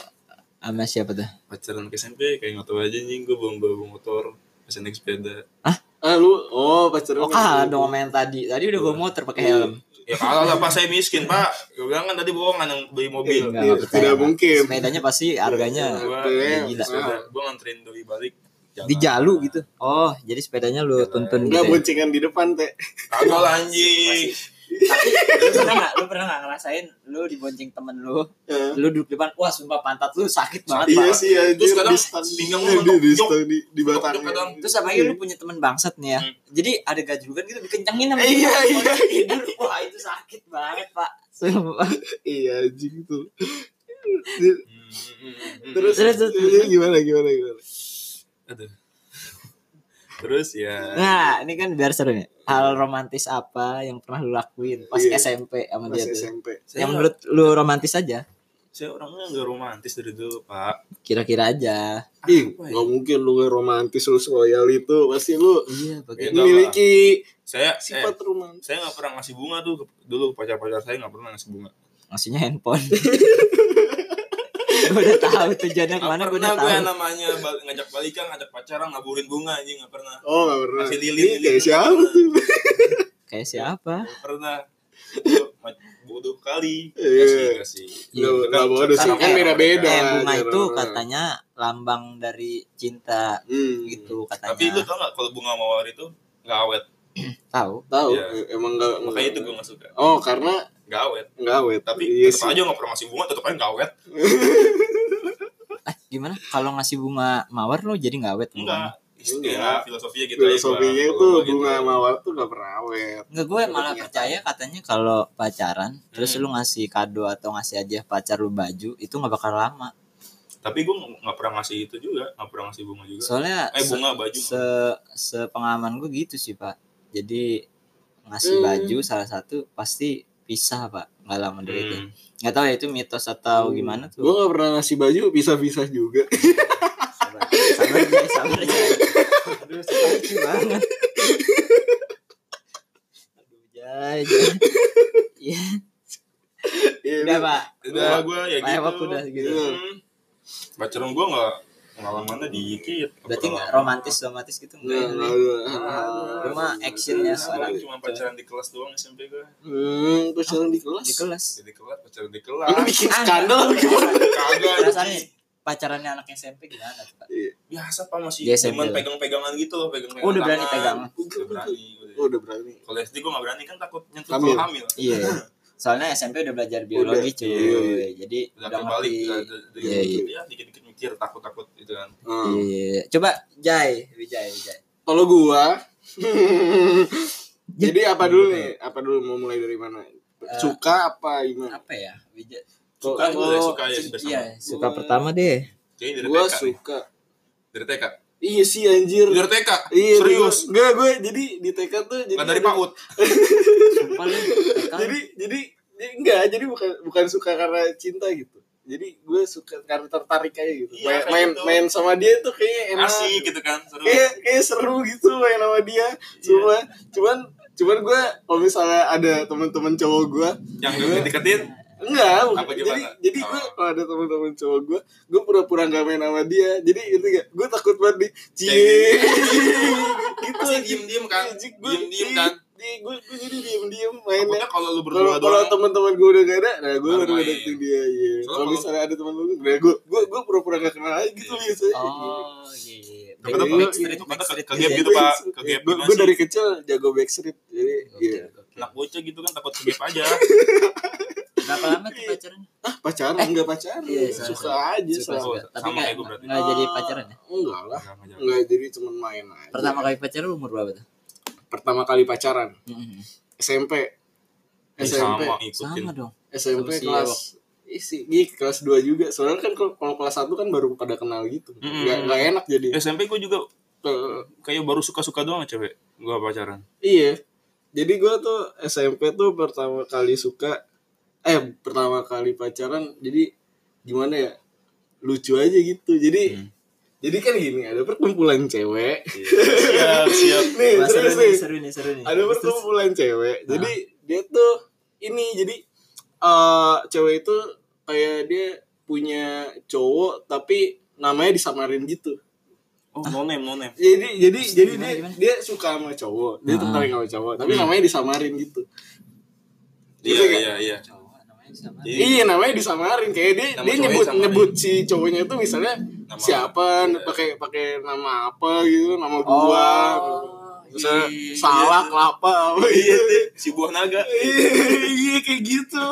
[SPEAKER 1] sama siapa tuh?
[SPEAKER 2] Pacaran ke SMP kayak nggak tahu aja nih, gue bawa bawa motor, masih naik sepeda.
[SPEAKER 3] Ah lu oh pacaran.
[SPEAKER 1] Oh, kalah dong sama yang tadi. Tadi udah bawa motor pakai helm.
[SPEAKER 2] Ya kalah lah pak, saya miskin pak. Gue bilang kan tadi bohongan yang beli mobil.
[SPEAKER 1] Enggak,
[SPEAKER 3] Iya,
[SPEAKER 1] enggak percaya.
[SPEAKER 3] tidak mungkin.
[SPEAKER 1] Sepedanya pasti harganya
[SPEAKER 2] Gue
[SPEAKER 3] Iya,
[SPEAKER 1] gila.
[SPEAKER 2] sepeda, gue nganterin doi balik. Jalan.
[SPEAKER 1] di Jalu gitu. Oh, jadi sepedanya lu tuntun gitu.
[SPEAKER 3] Enggak
[SPEAKER 1] ya?
[SPEAKER 3] boncengan di depan teh.
[SPEAKER 2] Kagak lah, anjing.
[SPEAKER 1] Lu pernah enggak lu pernah enggak ngerasain lu dibonceng temen lu?
[SPEAKER 3] Ya.
[SPEAKER 1] Lu di depan, wah sumpah pantat lu sakit banget.
[SPEAKER 3] Iya
[SPEAKER 1] Pak.
[SPEAKER 3] sih ya.
[SPEAKER 2] Terus kadang pinggang lu mentok,
[SPEAKER 3] di
[SPEAKER 2] jok.
[SPEAKER 3] di di batang.
[SPEAKER 2] Jok kadang.
[SPEAKER 1] Terus apalagi lu punya teman bangsat nih ya.
[SPEAKER 2] Hmm.
[SPEAKER 1] Jadi ada gajugan gitu dikencengin sama
[SPEAKER 3] Iya,
[SPEAKER 1] dia.
[SPEAKER 3] iya,
[SPEAKER 1] Tidur, Wah, itu sakit banget, Pak. Sumpah.
[SPEAKER 3] Iya anjing tuh.
[SPEAKER 2] Hmm, hmm, hmm, hmm.
[SPEAKER 3] Terus
[SPEAKER 1] Terus, terus.
[SPEAKER 3] iya, gimana gimana gimana.
[SPEAKER 2] Aduh. Terus ya.
[SPEAKER 1] Nah, ini kan biar seru nih. Hal romantis apa yang pernah lu lakuin pas
[SPEAKER 3] Iya.
[SPEAKER 1] SMP sama
[SPEAKER 3] Pas
[SPEAKER 1] dia tuh?
[SPEAKER 3] SMP.
[SPEAKER 2] Saya,
[SPEAKER 1] Yang menurut lu romantis aja?
[SPEAKER 2] saya orangnya nggak romantis dari dulu pak.
[SPEAKER 1] Kira-kira aja.
[SPEAKER 3] Ih,
[SPEAKER 2] Apa ya?
[SPEAKER 3] nggak mungkin lu nggak romantis lu loyal itu pasti lu
[SPEAKER 1] Iya, bagi
[SPEAKER 2] Beda lah.
[SPEAKER 3] memiliki
[SPEAKER 2] Saya, saya,
[SPEAKER 3] sifat romantis.
[SPEAKER 2] saya nggak pernah ngasih bunga tuh ke- dulu ke pacar-pacar saya nggak pernah ngasih bunga.
[SPEAKER 1] maksudnya handphone. gue udah tahu tujuannya
[SPEAKER 2] Gak
[SPEAKER 1] kemana gue
[SPEAKER 2] pernah
[SPEAKER 1] udah
[SPEAKER 2] gue
[SPEAKER 1] tahu.
[SPEAKER 2] yang namanya bal- ngajak balikan, ngajak pacaran, ngaburin bunga anjing gak pernah.
[SPEAKER 3] Oh, nggak pernah.
[SPEAKER 2] Kasih lilin,
[SPEAKER 3] Ini
[SPEAKER 2] lilin.
[SPEAKER 3] kayak siapa tuh?
[SPEAKER 1] Kayak siapa?
[SPEAKER 2] Gak pernah. Gua ma- Bodoh kali.
[SPEAKER 3] Iya.
[SPEAKER 2] Kasih, kasih.
[SPEAKER 3] Nggak
[SPEAKER 2] Kita-
[SPEAKER 3] nggak bodoh sih,
[SPEAKER 1] Karena
[SPEAKER 3] kan
[SPEAKER 1] kayak-
[SPEAKER 3] beda-beda.
[SPEAKER 1] Eh, bunga
[SPEAKER 3] cara
[SPEAKER 1] itu
[SPEAKER 3] orang.
[SPEAKER 1] katanya lambang dari cinta
[SPEAKER 3] Hmm.
[SPEAKER 1] gitu
[SPEAKER 2] Tapi lu
[SPEAKER 1] katanya.
[SPEAKER 2] tau gak kalau bunga mawar itu gak awet.
[SPEAKER 1] Tahu?
[SPEAKER 3] Tahu,
[SPEAKER 2] Iya.
[SPEAKER 3] eh, emang nggak.
[SPEAKER 2] Makanya itu gue gak suka.
[SPEAKER 3] Oh, karena
[SPEAKER 2] Gak awet.
[SPEAKER 3] nggak wet.
[SPEAKER 2] Tapi
[SPEAKER 3] iya
[SPEAKER 2] tetep
[SPEAKER 3] sih.
[SPEAKER 2] aja gitu gak pernah ngasih bunga, tetep aja gak awet.
[SPEAKER 1] Eh, gimana? Kalau ngasih bunga mawar lo jadi nggak awet
[SPEAKER 2] Enggak.
[SPEAKER 1] bunganya?
[SPEAKER 2] Istilah filosofinya gitu aja gua.
[SPEAKER 3] Hmm. Iya.
[SPEAKER 2] Kalau
[SPEAKER 3] Filosofinya itu
[SPEAKER 2] gua gitu.
[SPEAKER 3] bunga mawar tuh nggak pernah awet.
[SPEAKER 1] Enggak gue malah percaya katanya kalau pacaran terus
[SPEAKER 2] Hmm.
[SPEAKER 1] lu ngasih kado atau ngasih aja pacar lu baju itu nggak bakal lama.
[SPEAKER 2] Tapi gue gak pernah ngasih itu juga. Gak pernah ngasih bunga juga.
[SPEAKER 1] Soalnya
[SPEAKER 2] Eh
[SPEAKER 1] se-
[SPEAKER 2] bunga baju.
[SPEAKER 1] se sepengalaman gue gitu sih pak jadi ngasih
[SPEAKER 3] Hmm.
[SPEAKER 1] baju salah satu pasti pisah pak nggak lama dari itu
[SPEAKER 2] Hmm.
[SPEAKER 1] nggak tahu ya itu mitos atau gimana
[SPEAKER 3] Gue
[SPEAKER 1] tuh
[SPEAKER 3] nggak pernah ngasih baju pisah-pisah juga.
[SPEAKER 1] sabar sabar guys sabar guys aduh sakit banget aduh jay jay Iya,
[SPEAKER 3] Iya,
[SPEAKER 1] udah pak
[SPEAKER 2] Udah gue ya
[SPEAKER 1] Pak Ewok
[SPEAKER 2] gitu.
[SPEAKER 1] udah gitu
[SPEAKER 3] Iya.
[SPEAKER 2] Hmm. Pacaran gue gak pengalamannya dikit
[SPEAKER 1] Berarti nggak
[SPEAKER 2] Pengalaman-
[SPEAKER 1] romantis romantis gitu enggak
[SPEAKER 3] Iya,
[SPEAKER 1] ya? Nih?
[SPEAKER 2] Ah,
[SPEAKER 1] Cuma actionnya
[SPEAKER 2] Nah,
[SPEAKER 1] seorang
[SPEAKER 2] gua cuma pacaran di kelas doang SMP gue
[SPEAKER 3] Hmm, gue sekarang di kelas.
[SPEAKER 1] di kelas.
[SPEAKER 2] di kelas Ah. pacaran di kelas
[SPEAKER 3] Lu bikin skandal apa gimana?
[SPEAKER 2] kagak
[SPEAKER 1] Rasanya pacarannya anak SMP gimana tuh? Pak?
[SPEAKER 2] biasa pak masih
[SPEAKER 1] Di SMP
[SPEAKER 2] cuman
[SPEAKER 1] lah.
[SPEAKER 2] pegang-pegangan gitu loh pegang
[SPEAKER 1] Oh, udah berani pegangan.
[SPEAKER 2] udah berani gua.
[SPEAKER 3] Oh, udah berani.
[SPEAKER 2] kalau SD gue gak berani kan takut nyentuh
[SPEAKER 3] Hamil.
[SPEAKER 2] hamil, hamil.
[SPEAKER 1] Iya. Soalnya SMP udah belajar biologi
[SPEAKER 3] Udah,
[SPEAKER 1] cuy.
[SPEAKER 3] iya,
[SPEAKER 1] Jadi
[SPEAKER 2] udah
[SPEAKER 1] udah
[SPEAKER 2] kebalik
[SPEAKER 1] ngerti.
[SPEAKER 2] udah- udah- udah-
[SPEAKER 1] Iya, iya.
[SPEAKER 2] ya dikit-dikit mikir takut-takut gitu kan
[SPEAKER 3] Hmm.
[SPEAKER 1] Iya. Coba Jai, Wijay, Wijay.
[SPEAKER 3] Kalau gua Jadi apa dulu
[SPEAKER 2] Iya.
[SPEAKER 3] nih? Apa dulu mau mulai dari mana?
[SPEAKER 2] Eh,
[SPEAKER 3] Suka apa gimana?
[SPEAKER 1] Apa ya? Wijay.
[SPEAKER 2] suka
[SPEAKER 3] Kalau-
[SPEAKER 2] dulu deh suka ya bersama
[SPEAKER 1] Iya, suka
[SPEAKER 3] Gua-
[SPEAKER 1] pertama deh.
[SPEAKER 2] kayaknya dari
[SPEAKER 3] Gua
[SPEAKER 2] TK nih.
[SPEAKER 3] suka.
[SPEAKER 2] dari TK
[SPEAKER 3] Iya sih anjir.
[SPEAKER 2] dari TK
[SPEAKER 3] Iya,
[SPEAKER 2] serius
[SPEAKER 3] Enggak, gue jadi di TK tuh jadi
[SPEAKER 2] Bukan dari
[SPEAKER 3] ada-
[SPEAKER 2] PAUD
[SPEAKER 1] Sumpah lu. TK.
[SPEAKER 3] Jadi jadi jadi enggak, jadi bukan bukan suka karena cinta gitu. Jadi gue suka karena tertarik aja gitu.
[SPEAKER 2] Iya,
[SPEAKER 3] main
[SPEAKER 2] kayak
[SPEAKER 3] main,
[SPEAKER 2] gitu.
[SPEAKER 3] main sama dia tuh kayaknya enak.
[SPEAKER 2] asik Iya. gitu kan seru
[SPEAKER 3] Kayak kayak seru gitu main sama dia. Cuma cuman cuman gue kalau misalnya ada teman-teman cowok gue
[SPEAKER 2] yang gue deketin
[SPEAKER 3] enggak bukan.
[SPEAKER 2] Apa gimana?
[SPEAKER 3] jadi jadi gue
[SPEAKER 2] Oh.
[SPEAKER 3] kalau ada teman-teman cowok gue gue pura-pura gak main sama dia jadi itu gak gue takut banget nih cie
[SPEAKER 2] Kayak
[SPEAKER 3] gitu
[SPEAKER 2] pasti diem-diem kan diem-diem
[SPEAKER 3] Iya.
[SPEAKER 2] kan
[SPEAKER 3] gue gue jadi diem diem mainnya
[SPEAKER 2] takutnya kalau lu
[SPEAKER 3] kalau
[SPEAKER 2] berdua
[SPEAKER 3] kalau
[SPEAKER 2] doang
[SPEAKER 3] teman-teman gue udah gak ada nah gue
[SPEAKER 2] Baru
[SPEAKER 3] baru
[SPEAKER 2] main.
[SPEAKER 3] deketin dia iya
[SPEAKER 2] Soalnya
[SPEAKER 3] kalau
[SPEAKER 2] kalau-
[SPEAKER 3] misalnya ada teman lu nah gue gue gue pura-pura gak kenal aja gitu
[SPEAKER 2] Iya.
[SPEAKER 3] biasanya
[SPEAKER 1] Oh, iya.
[SPEAKER 2] Tapi
[SPEAKER 1] Back-
[SPEAKER 3] tetep-
[SPEAKER 1] Backstreet,
[SPEAKER 2] tetep
[SPEAKER 1] Backstreet
[SPEAKER 2] kegap
[SPEAKER 1] gitu
[SPEAKER 2] gitu,
[SPEAKER 3] Iya,
[SPEAKER 1] ya.
[SPEAKER 2] Pak. Ke gap
[SPEAKER 3] gue
[SPEAKER 2] gimana
[SPEAKER 3] gue
[SPEAKER 2] sih?
[SPEAKER 3] dari kecil jago backstreet jadi
[SPEAKER 1] Gokil,
[SPEAKER 3] iya
[SPEAKER 1] gokil.
[SPEAKER 2] anak bocah gitu kan takut kegep aja
[SPEAKER 1] Berapa lama
[SPEAKER 2] Iya.
[SPEAKER 1] tuh pacaran?
[SPEAKER 3] ah pacaran
[SPEAKER 1] Eh.
[SPEAKER 3] nggak pacaran
[SPEAKER 1] Iya, salah,
[SPEAKER 3] suka
[SPEAKER 1] salah.
[SPEAKER 3] aja
[SPEAKER 1] Suka,
[SPEAKER 3] salah
[SPEAKER 1] suka. Tapi
[SPEAKER 2] Sama
[SPEAKER 1] nggak
[SPEAKER 2] kayak gua berarti. Iya.
[SPEAKER 1] nggak jadi pacaran ya?
[SPEAKER 3] enggak lah
[SPEAKER 2] Jangan, jangan.
[SPEAKER 3] enggak jadi cuman main aja
[SPEAKER 1] Pertama kali pacaran umur berapa tuh?
[SPEAKER 3] pertama kali pacaran
[SPEAKER 1] Mm-mm.
[SPEAKER 3] SMP
[SPEAKER 2] Ih,
[SPEAKER 3] SMP
[SPEAKER 2] sama ikutin
[SPEAKER 1] Sama dong.
[SPEAKER 3] SMP
[SPEAKER 1] Sama si Ewok.
[SPEAKER 3] kelas isi gih, kelas 2 juga soalnya kan kalau kalau kelas 1 kan baru pada kenal gitu
[SPEAKER 2] Mm-mm.
[SPEAKER 3] nggak nggak enak jadi
[SPEAKER 2] SMP gue juga
[SPEAKER 3] Eh,
[SPEAKER 2] kayak baru suka-suka doang sama cewek gue pacaran
[SPEAKER 3] iya jadi gue tuh SMP tuh pertama kali suka eh pertama kali pacaran jadi gimana ya lucu aja gitu jadi
[SPEAKER 1] Hmm.
[SPEAKER 3] jadi kan gini ada perkumpulan cewek
[SPEAKER 2] siap siap
[SPEAKER 3] Iya. nih
[SPEAKER 1] Wah, Iya, seru nih,
[SPEAKER 3] serius nih
[SPEAKER 1] seru nih, seru nih.
[SPEAKER 3] ada
[SPEAKER 1] Terus, Ah. terus.
[SPEAKER 3] perkumpulan cewek jadi dia tuh ini jadi eh cewek itu kayak dia punya cowok tapi namanya disamarin gitu
[SPEAKER 2] oh no name no name
[SPEAKER 3] jadi jadi jadi
[SPEAKER 1] gimana,
[SPEAKER 3] dia
[SPEAKER 1] gimana?
[SPEAKER 3] dia suka sama cowok dia
[SPEAKER 1] Ah.
[SPEAKER 3] tertarik sama cowok tapi namanya disamarin gitu
[SPEAKER 2] iya
[SPEAKER 3] Gitu,
[SPEAKER 2] iya iya
[SPEAKER 1] Cowok Oh, namanya sama.
[SPEAKER 2] Jadi
[SPEAKER 3] iya namanya disamarin kayak dia
[SPEAKER 2] Nama
[SPEAKER 3] dia
[SPEAKER 2] cowoknya
[SPEAKER 3] nyebut
[SPEAKER 2] disamarin.
[SPEAKER 3] nyebut si cowoknya itu misalnya
[SPEAKER 2] Nama-
[SPEAKER 3] siapa
[SPEAKER 2] iya.
[SPEAKER 3] pakai pakai nama apa gitu nama gua
[SPEAKER 1] Oh.
[SPEAKER 3] misalnya salah kelapa apa
[SPEAKER 2] Iya,
[SPEAKER 3] gitu
[SPEAKER 2] iya. si buah naga
[SPEAKER 3] iya kayak gitu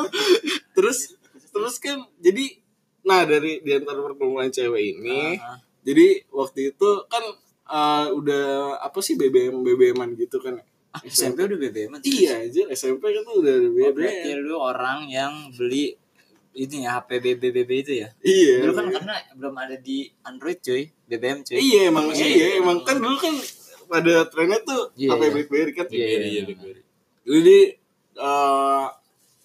[SPEAKER 3] terus terus kan jadi nah dari di antara perkumpulan cewek ini
[SPEAKER 1] Ah.
[SPEAKER 3] jadi waktu itu kan eh, udah apa sih BBM BBM-an gitu kan ya?
[SPEAKER 1] Ah, SMP udah BBM
[SPEAKER 3] iya aja SMP kan tuh udah ada
[SPEAKER 1] Oh,
[SPEAKER 3] BBM
[SPEAKER 1] berarti lu orang yang beli itu ya HP BBBB itu ya.
[SPEAKER 3] iya
[SPEAKER 1] Dulu kan karena belum ada di Android cuy, BBM cuy.
[SPEAKER 3] iya emang
[SPEAKER 1] Iya.
[SPEAKER 3] iya emang kan dulu kan pada trennya tuh
[SPEAKER 1] Iya,
[SPEAKER 3] apa
[SPEAKER 1] iya.
[SPEAKER 3] BlackBerry kan
[SPEAKER 1] Iya, iya, iya.
[SPEAKER 2] BlackBerry.
[SPEAKER 3] jadi eh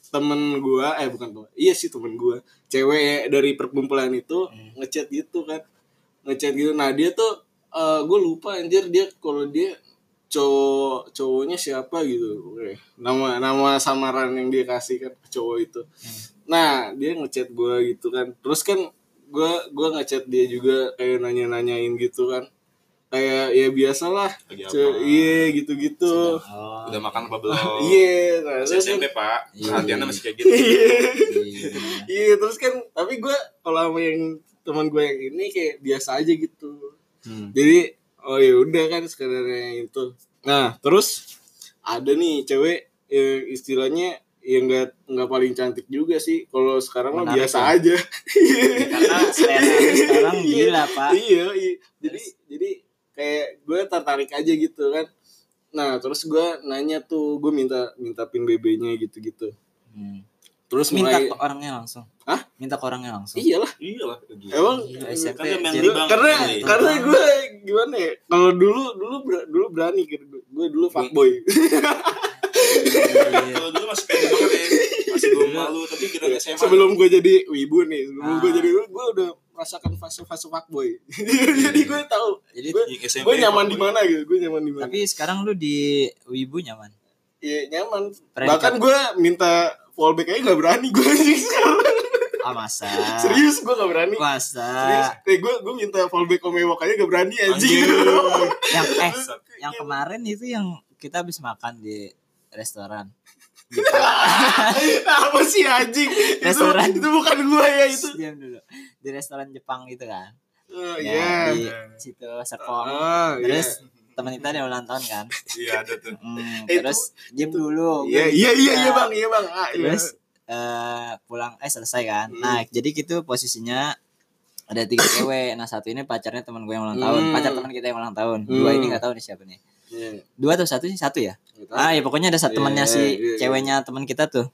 [SPEAKER 3] temen gua eh bukan temen iya sih temen gua cewek ya, dari perkumpulan itu
[SPEAKER 2] Hmm.
[SPEAKER 3] ngechat gitu kan ngechat gitu nah dia tuh eh gue lupa anjir dia kalau dia cowok cowoknya siapa gitu Oke. nama nama samaran yang dia kasih kan ke cowok itu
[SPEAKER 2] Hmm.
[SPEAKER 3] nah dia ngechat gua gitu kan terus kan gua gua ngechat dia juga kayak nanya nanyain gitu kan kayak ya biasalah
[SPEAKER 2] Lagi apa?
[SPEAKER 3] Ce- iya gitu gitu
[SPEAKER 1] Oh.
[SPEAKER 2] udah makan apa belum
[SPEAKER 3] Iya, nah,
[SPEAKER 2] Masih
[SPEAKER 3] terus kan-
[SPEAKER 2] SMP pak
[SPEAKER 1] Iya.
[SPEAKER 2] perhatiannya masih kayak gitu
[SPEAKER 1] Iya.
[SPEAKER 3] iya terus kan tapi gue kalau sama yang teman gue yang ini kayak biasa aja gitu.
[SPEAKER 2] Hmm.
[SPEAKER 3] Jadi oh ya udah kan sekadarnya itu. Nah terus ada nih cewek yang istilahnya yang nggak nggak paling cantik juga sih kalau sekarang mah
[SPEAKER 1] Menarik,
[SPEAKER 3] biasa
[SPEAKER 1] ya?
[SPEAKER 3] aja.
[SPEAKER 1] iya, Karena selera lu sekarang gila, Pak.
[SPEAKER 3] iya, iya. Jadi jadi kayak gue tertarik aja gitu kan. Nah terus gue nanya tuh gue minta minta pin BB-nya gitu-gitu.
[SPEAKER 1] Hmm.
[SPEAKER 3] Terus
[SPEAKER 1] Minta
[SPEAKER 3] mulai-
[SPEAKER 1] ke orangnya langsung.
[SPEAKER 3] Hah?
[SPEAKER 1] Minta ke orangnya langsung.
[SPEAKER 3] Iyalah.
[SPEAKER 2] iya lah
[SPEAKER 3] Emang
[SPEAKER 1] Gila, SMP.
[SPEAKER 2] Karena main
[SPEAKER 1] Jadi-
[SPEAKER 2] di bank.
[SPEAKER 3] karena
[SPEAKER 2] Iya.
[SPEAKER 3] karena gue gimana ya? Kalau dulu dulu ber- dulu berani gitu. Gue dulu fuckboy.
[SPEAKER 1] Iya.
[SPEAKER 3] Iya.
[SPEAKER 2] kalau dulu masih pengen banget ya masih belum malu tapi kira SMA
[SPEAKER 3] sebelum gue jadi wibu nih, sebelum
[SPEAKER 1] Ah.
[SPEAKER 3] gue jadi wibu, gue udah merasakan fase-fase fuckboy. Jadi gue tahu
[SPEAKER 1] Jadi
[SPEAKER 3] gue
[SPEAKER 2] Iya, SMP
[SPEAKER 3] gue nyaman
[SPEAKER 2] fuckboy.
[SPEAKER 3] di mana gitu, gue nyaman di mana.
[SPEAKER 1] tapi sekarang lu di Wibu nyaman.
[SPEAKER 3] Iya, nyaman.
[SPEAKER 1] Predikat.
[SPEAKER 3] Bahkan gue minta fallback aja gak berani gue anjing sekarang.
[SPEAKER 1] ah masa
[SPEAKER 3] Serius gue gak berani.
[SPEAKER 1] masa
[SPEAKER 3] Serius. Eh gue gue minta fallback Omewok aja gak berani anjing.
[SPEAKER 1] yang eh yang kemarin itu yang kita habis makan di restoran
[SPEAKER 3] Apa sih anjing? Itu,
[SPEAKER 1] Restoran.
[SPEAKER 3] itu bukan gue ya itu.
[SPEAKER 1] diam dulu di restoran Jepang gitu kan
[SPEAKER 3] Oh,
[SPEAKER 1] Nah,
[SPEAKER 3] Iya.
[SPEAKER 1] di situ Serpong
[SPEAKER 3] Oh, iya.
[SPEAKER 1] terus teman kita ada ulang tahun kan
[SPEAKER 2] Iya ada tuh.
[SPEAKER 1] Hmm,
[SPEAKER 3] Eh,
[SPEAKER 1] terus diam dulu
[SPEAKER 3] Iya
[SPEAKER 1] Gua-
[SPEAKER 3] iya iya iya bang iya bang. Ah, iya.
[SPEAKER 1] terus eh pulang eh selesai kan
[SPEAKER 3] Hmm.
[SPEAKER 1] nah jadi gitu posisinya ada tiga cewek nah satu ini pacarnya teman gue yang ulang tahun
[SPEAKER 3] Hmm.
[SPEAKER 1] pacar teman kita yang ulang tahun dua
[SPEAKER 3] Hmm.
[SPEAKER 1] ini nggak tahu nih siapa nih
[SPEAKER 3] Iya.
[SPEAKER 1] dua atau satu sih satu ya
[SPEAKER 3] Gitu.
[SPEAKER 1] ah ya pokoknya ada satu
[SPEAKER 3] Iya,
[SPEAKER 1] temannya si
[SPEAKER 3] iya, iya.
[SPEAKER 1] ceweknya teman kita tuh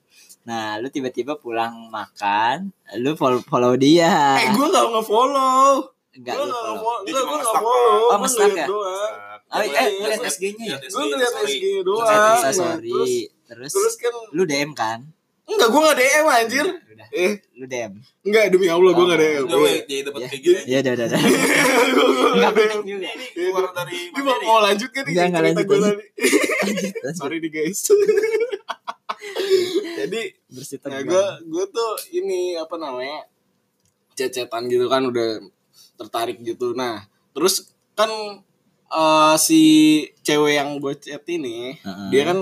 [SPEAKER 1] nah lu tiba-tiba pulang makan lu follow, follow dia
[SPEAKER 3] Eh gue gak nge-follow
[SPEAKER 1] enggak
[SPEAKER 3] Gue
[SPEAKER 1] lu
[SPEAKER 3] gak
[SPEAKER 1] follow
[SPEAKER 2] Dia
[SPEAKER 3] nge-follow
[SPEAKER 2] cuma
[SPEAKER 3] Enggak gue gak
[SPEAKER 2] nge-stalk,
[SPEAKER 3] follow
[SPEAKER 1] Bang. Oh,
[SPEAKER 3] Gua
[SPEAKER 1] nge-stalk
[SPEAKER 3] ngeliat
[SPEAKER 1] ya?
[SPEAKER 3] doang.
[SPEAKER 1] Oh, eh,
[SPEAKER 2] Iya, Gua
[SPEAKER 1] ngeliat
[SPEAKER 2] ngeliat-
[SPEAKER 1] SG-nya ya?
[SPEAKER 2] ngeliat
[SPEAKER 3] Gue
[SPEAKER 2] SG,
[SPEAKER 3] ngeliat
[SPEAKER 2] sorry.
[SPEAKER 3] SG
[SPEAKER 1] Terus
[SPEAKER 3] doang
[SPEAKER 1] bisa
[SPEAKER 3] Nah,
[SPEAKER 1] sorry
[SPEAKER 3] Terus
[SPEAKER 1] terus,
[SPEAKER 3] Terus kan
[SPEAKER 1] lu DM kan
[SPEAKER 3] Enggak gue gak DM anjir
[SPEAKER 1] udah
[SPEAKER 3] Eh
[SPEAKER 1] lu DM
[SPEAKER 3] enggak demi Allah gue gak DM
[SPEAKER 2] Udah weh, jadi dapat
[SPEAKER 3] Iya.
[SPEAKER 1] Ya.
[SPEAKER 2] kayak gini.
[SPEAKER 1] ya udah udah udah
[SPEAKER 3] Gue
[SPEAKER 1] nggak
[SPEAKER 3] gak
[SPEAKER 1] penting
[SPEAKER 3] DM
[SPEAKER 1] juga
[SPEAKER 2] Keluar dari
[SPEAKER 3] Iya, Ini mau,
[SPEAKER 2] materi.
[SPEAKER 3] mau lanjut kan nih
[SPEAKER 1] Enggak, enggak
[SPEAKER 3] cerita
[SPEAKER 1] lanjut,
[SPEAKER 3] gue
[SPEAKER 1] lanjut.
[SPEAKER 3] tadi
[SPEAKER 1] Lanjut,
[SPEAKER 3] Sorry nih guys Jadi
[SPEAKER 1] bersih
[SPEAKER 3] nah
[SPEAKER 1] tegang.
[SPEAKER 3] gue gue tuh ini apa namanya cecetan gitu kan udah tertarik gitu nah terus kan eh, si cewek yang gue cet ini
[SPEAKER 1] Heeh.
[SPEAKER 3] dia kan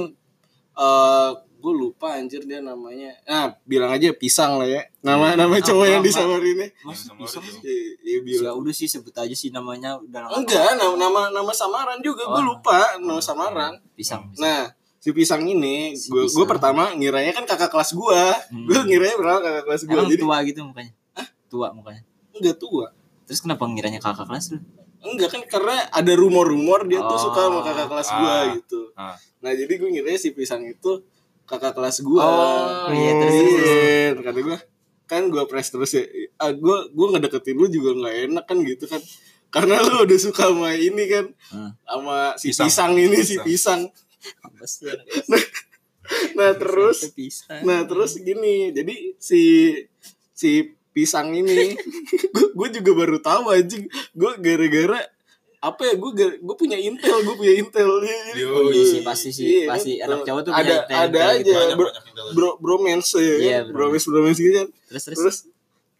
[SPEAKER 3] eh gue lupa anjir dia namanya nah bilang aja pisang lah ya
[SPEAKER 1] Iya.
[SPEAKER 3] nama nama cowok
[SPEAKER 1] Apa,
[SPEAKER 3] yang
[SPEAKER 1] apa?
[SPEAKER 3] disamar ini
[SPEAKER 1] Maksud
[SPEAKER 2] Yang sama
[SPEAKER 1] bisa
[SPEAKER 2] orang
[SPEAKER 3] Iya, iya,
[SPEAKER 1] Ya
[SPEAKER 3] bilang.
[SPEAKER 1] udah sih sebut aja sih namanya udah lama.
[SPEAKER 3] enggak nama, nama nama samaran juga gue
[SPEAKER 1] Oh.
[SPEAKER 3] lupa nama samaran
[SPEAKER 1] Pisang. pisang.
[SPEAKER 3] nah si pisang ini
[SPEAKER 1] Si
[SPEAKER 3] gue
[SPEAKER 1] pisang. Hmm.
[SPEAKER 3] pertama ngiranya kan kakak kelas gue gue ngiranya berapa kakak kelas gue
[SPEAKER 1] Emang
[SPEAKER 3] Nah, jadi
[SPEAKER 1] tua gitu mukanya. Tua mukanya.
[SPEAKER 3] enggak tua
[SPEAKER 1] Terus kenapa ngiranya kakak kelas lu?
[SPEAKER 3] Enggak kan karena ada rumor-rumor dia tuh
[SPEAKER 1] Oh,
[SPEAKER 3] suka sama kakak kelas
[SPEAKER 2] ah,
[SPEAKER 3] gua gitu.
[SPEAKER 2] ah.
[SPEAKER 3] Nah, jadi gue ngira si Pisang itu kakak kelas gua.
[SPEAKER 1] Oh, iya, terus, terus, terus.
[SPEAKER 3] Iya, kata gua kan gua press terus ya. Ah, gua gua ngedeketin lu juga nggak enak kan gitu kan. Karena lu udah suka sama ini kan.
[SPEAKER 1] Hmm.
[SPEAKER 3] Sama si
[SPEAKER 2] Pisang.
[SPEAKER 3] pisang, ini si
[SPEAKER 2] Pisang.
[SPEAKER 3] Pisang.
[SPEAKER 1] Apa sih?
[SPEAKER 3] Nah, terus
[SPEAKER 1] pisang.
[SPEAKER 3] nah terus gini. Jadi si si Pisang ini gue juga baru tahu anjing. Gue gara-gara apa ya gue gue punya intel gue punya intel Jadi-
[SPEAKER 2] Yo,
[SPEAKER 1] iya sih, pasti sih.
[SPEAKER 3] Iya,
[SPEAKER 1] Pasti
[SPEAKER 3] kan?
[SPEAKER 1] anak cowok tuh punya
[SPEAKER 3] ada
[SPEAKER 1] intel-
[SPEAKER 3] ada
[SPEAKER 1] intel gitu.
[SPEAKER 3] aja
[SPEAKER 2] Banyak
[SPEAKER 3] bro,
[SPEAKER 2] banyak yang dalam.
[SPEAKER 3] bro, bromance ya
[SPEAKER 1] Iya,
[SPEAKER 3] kan? bromance bromance gitu kan
[SPEAKER 1] Terus terus.
[SPEAKER 3] terus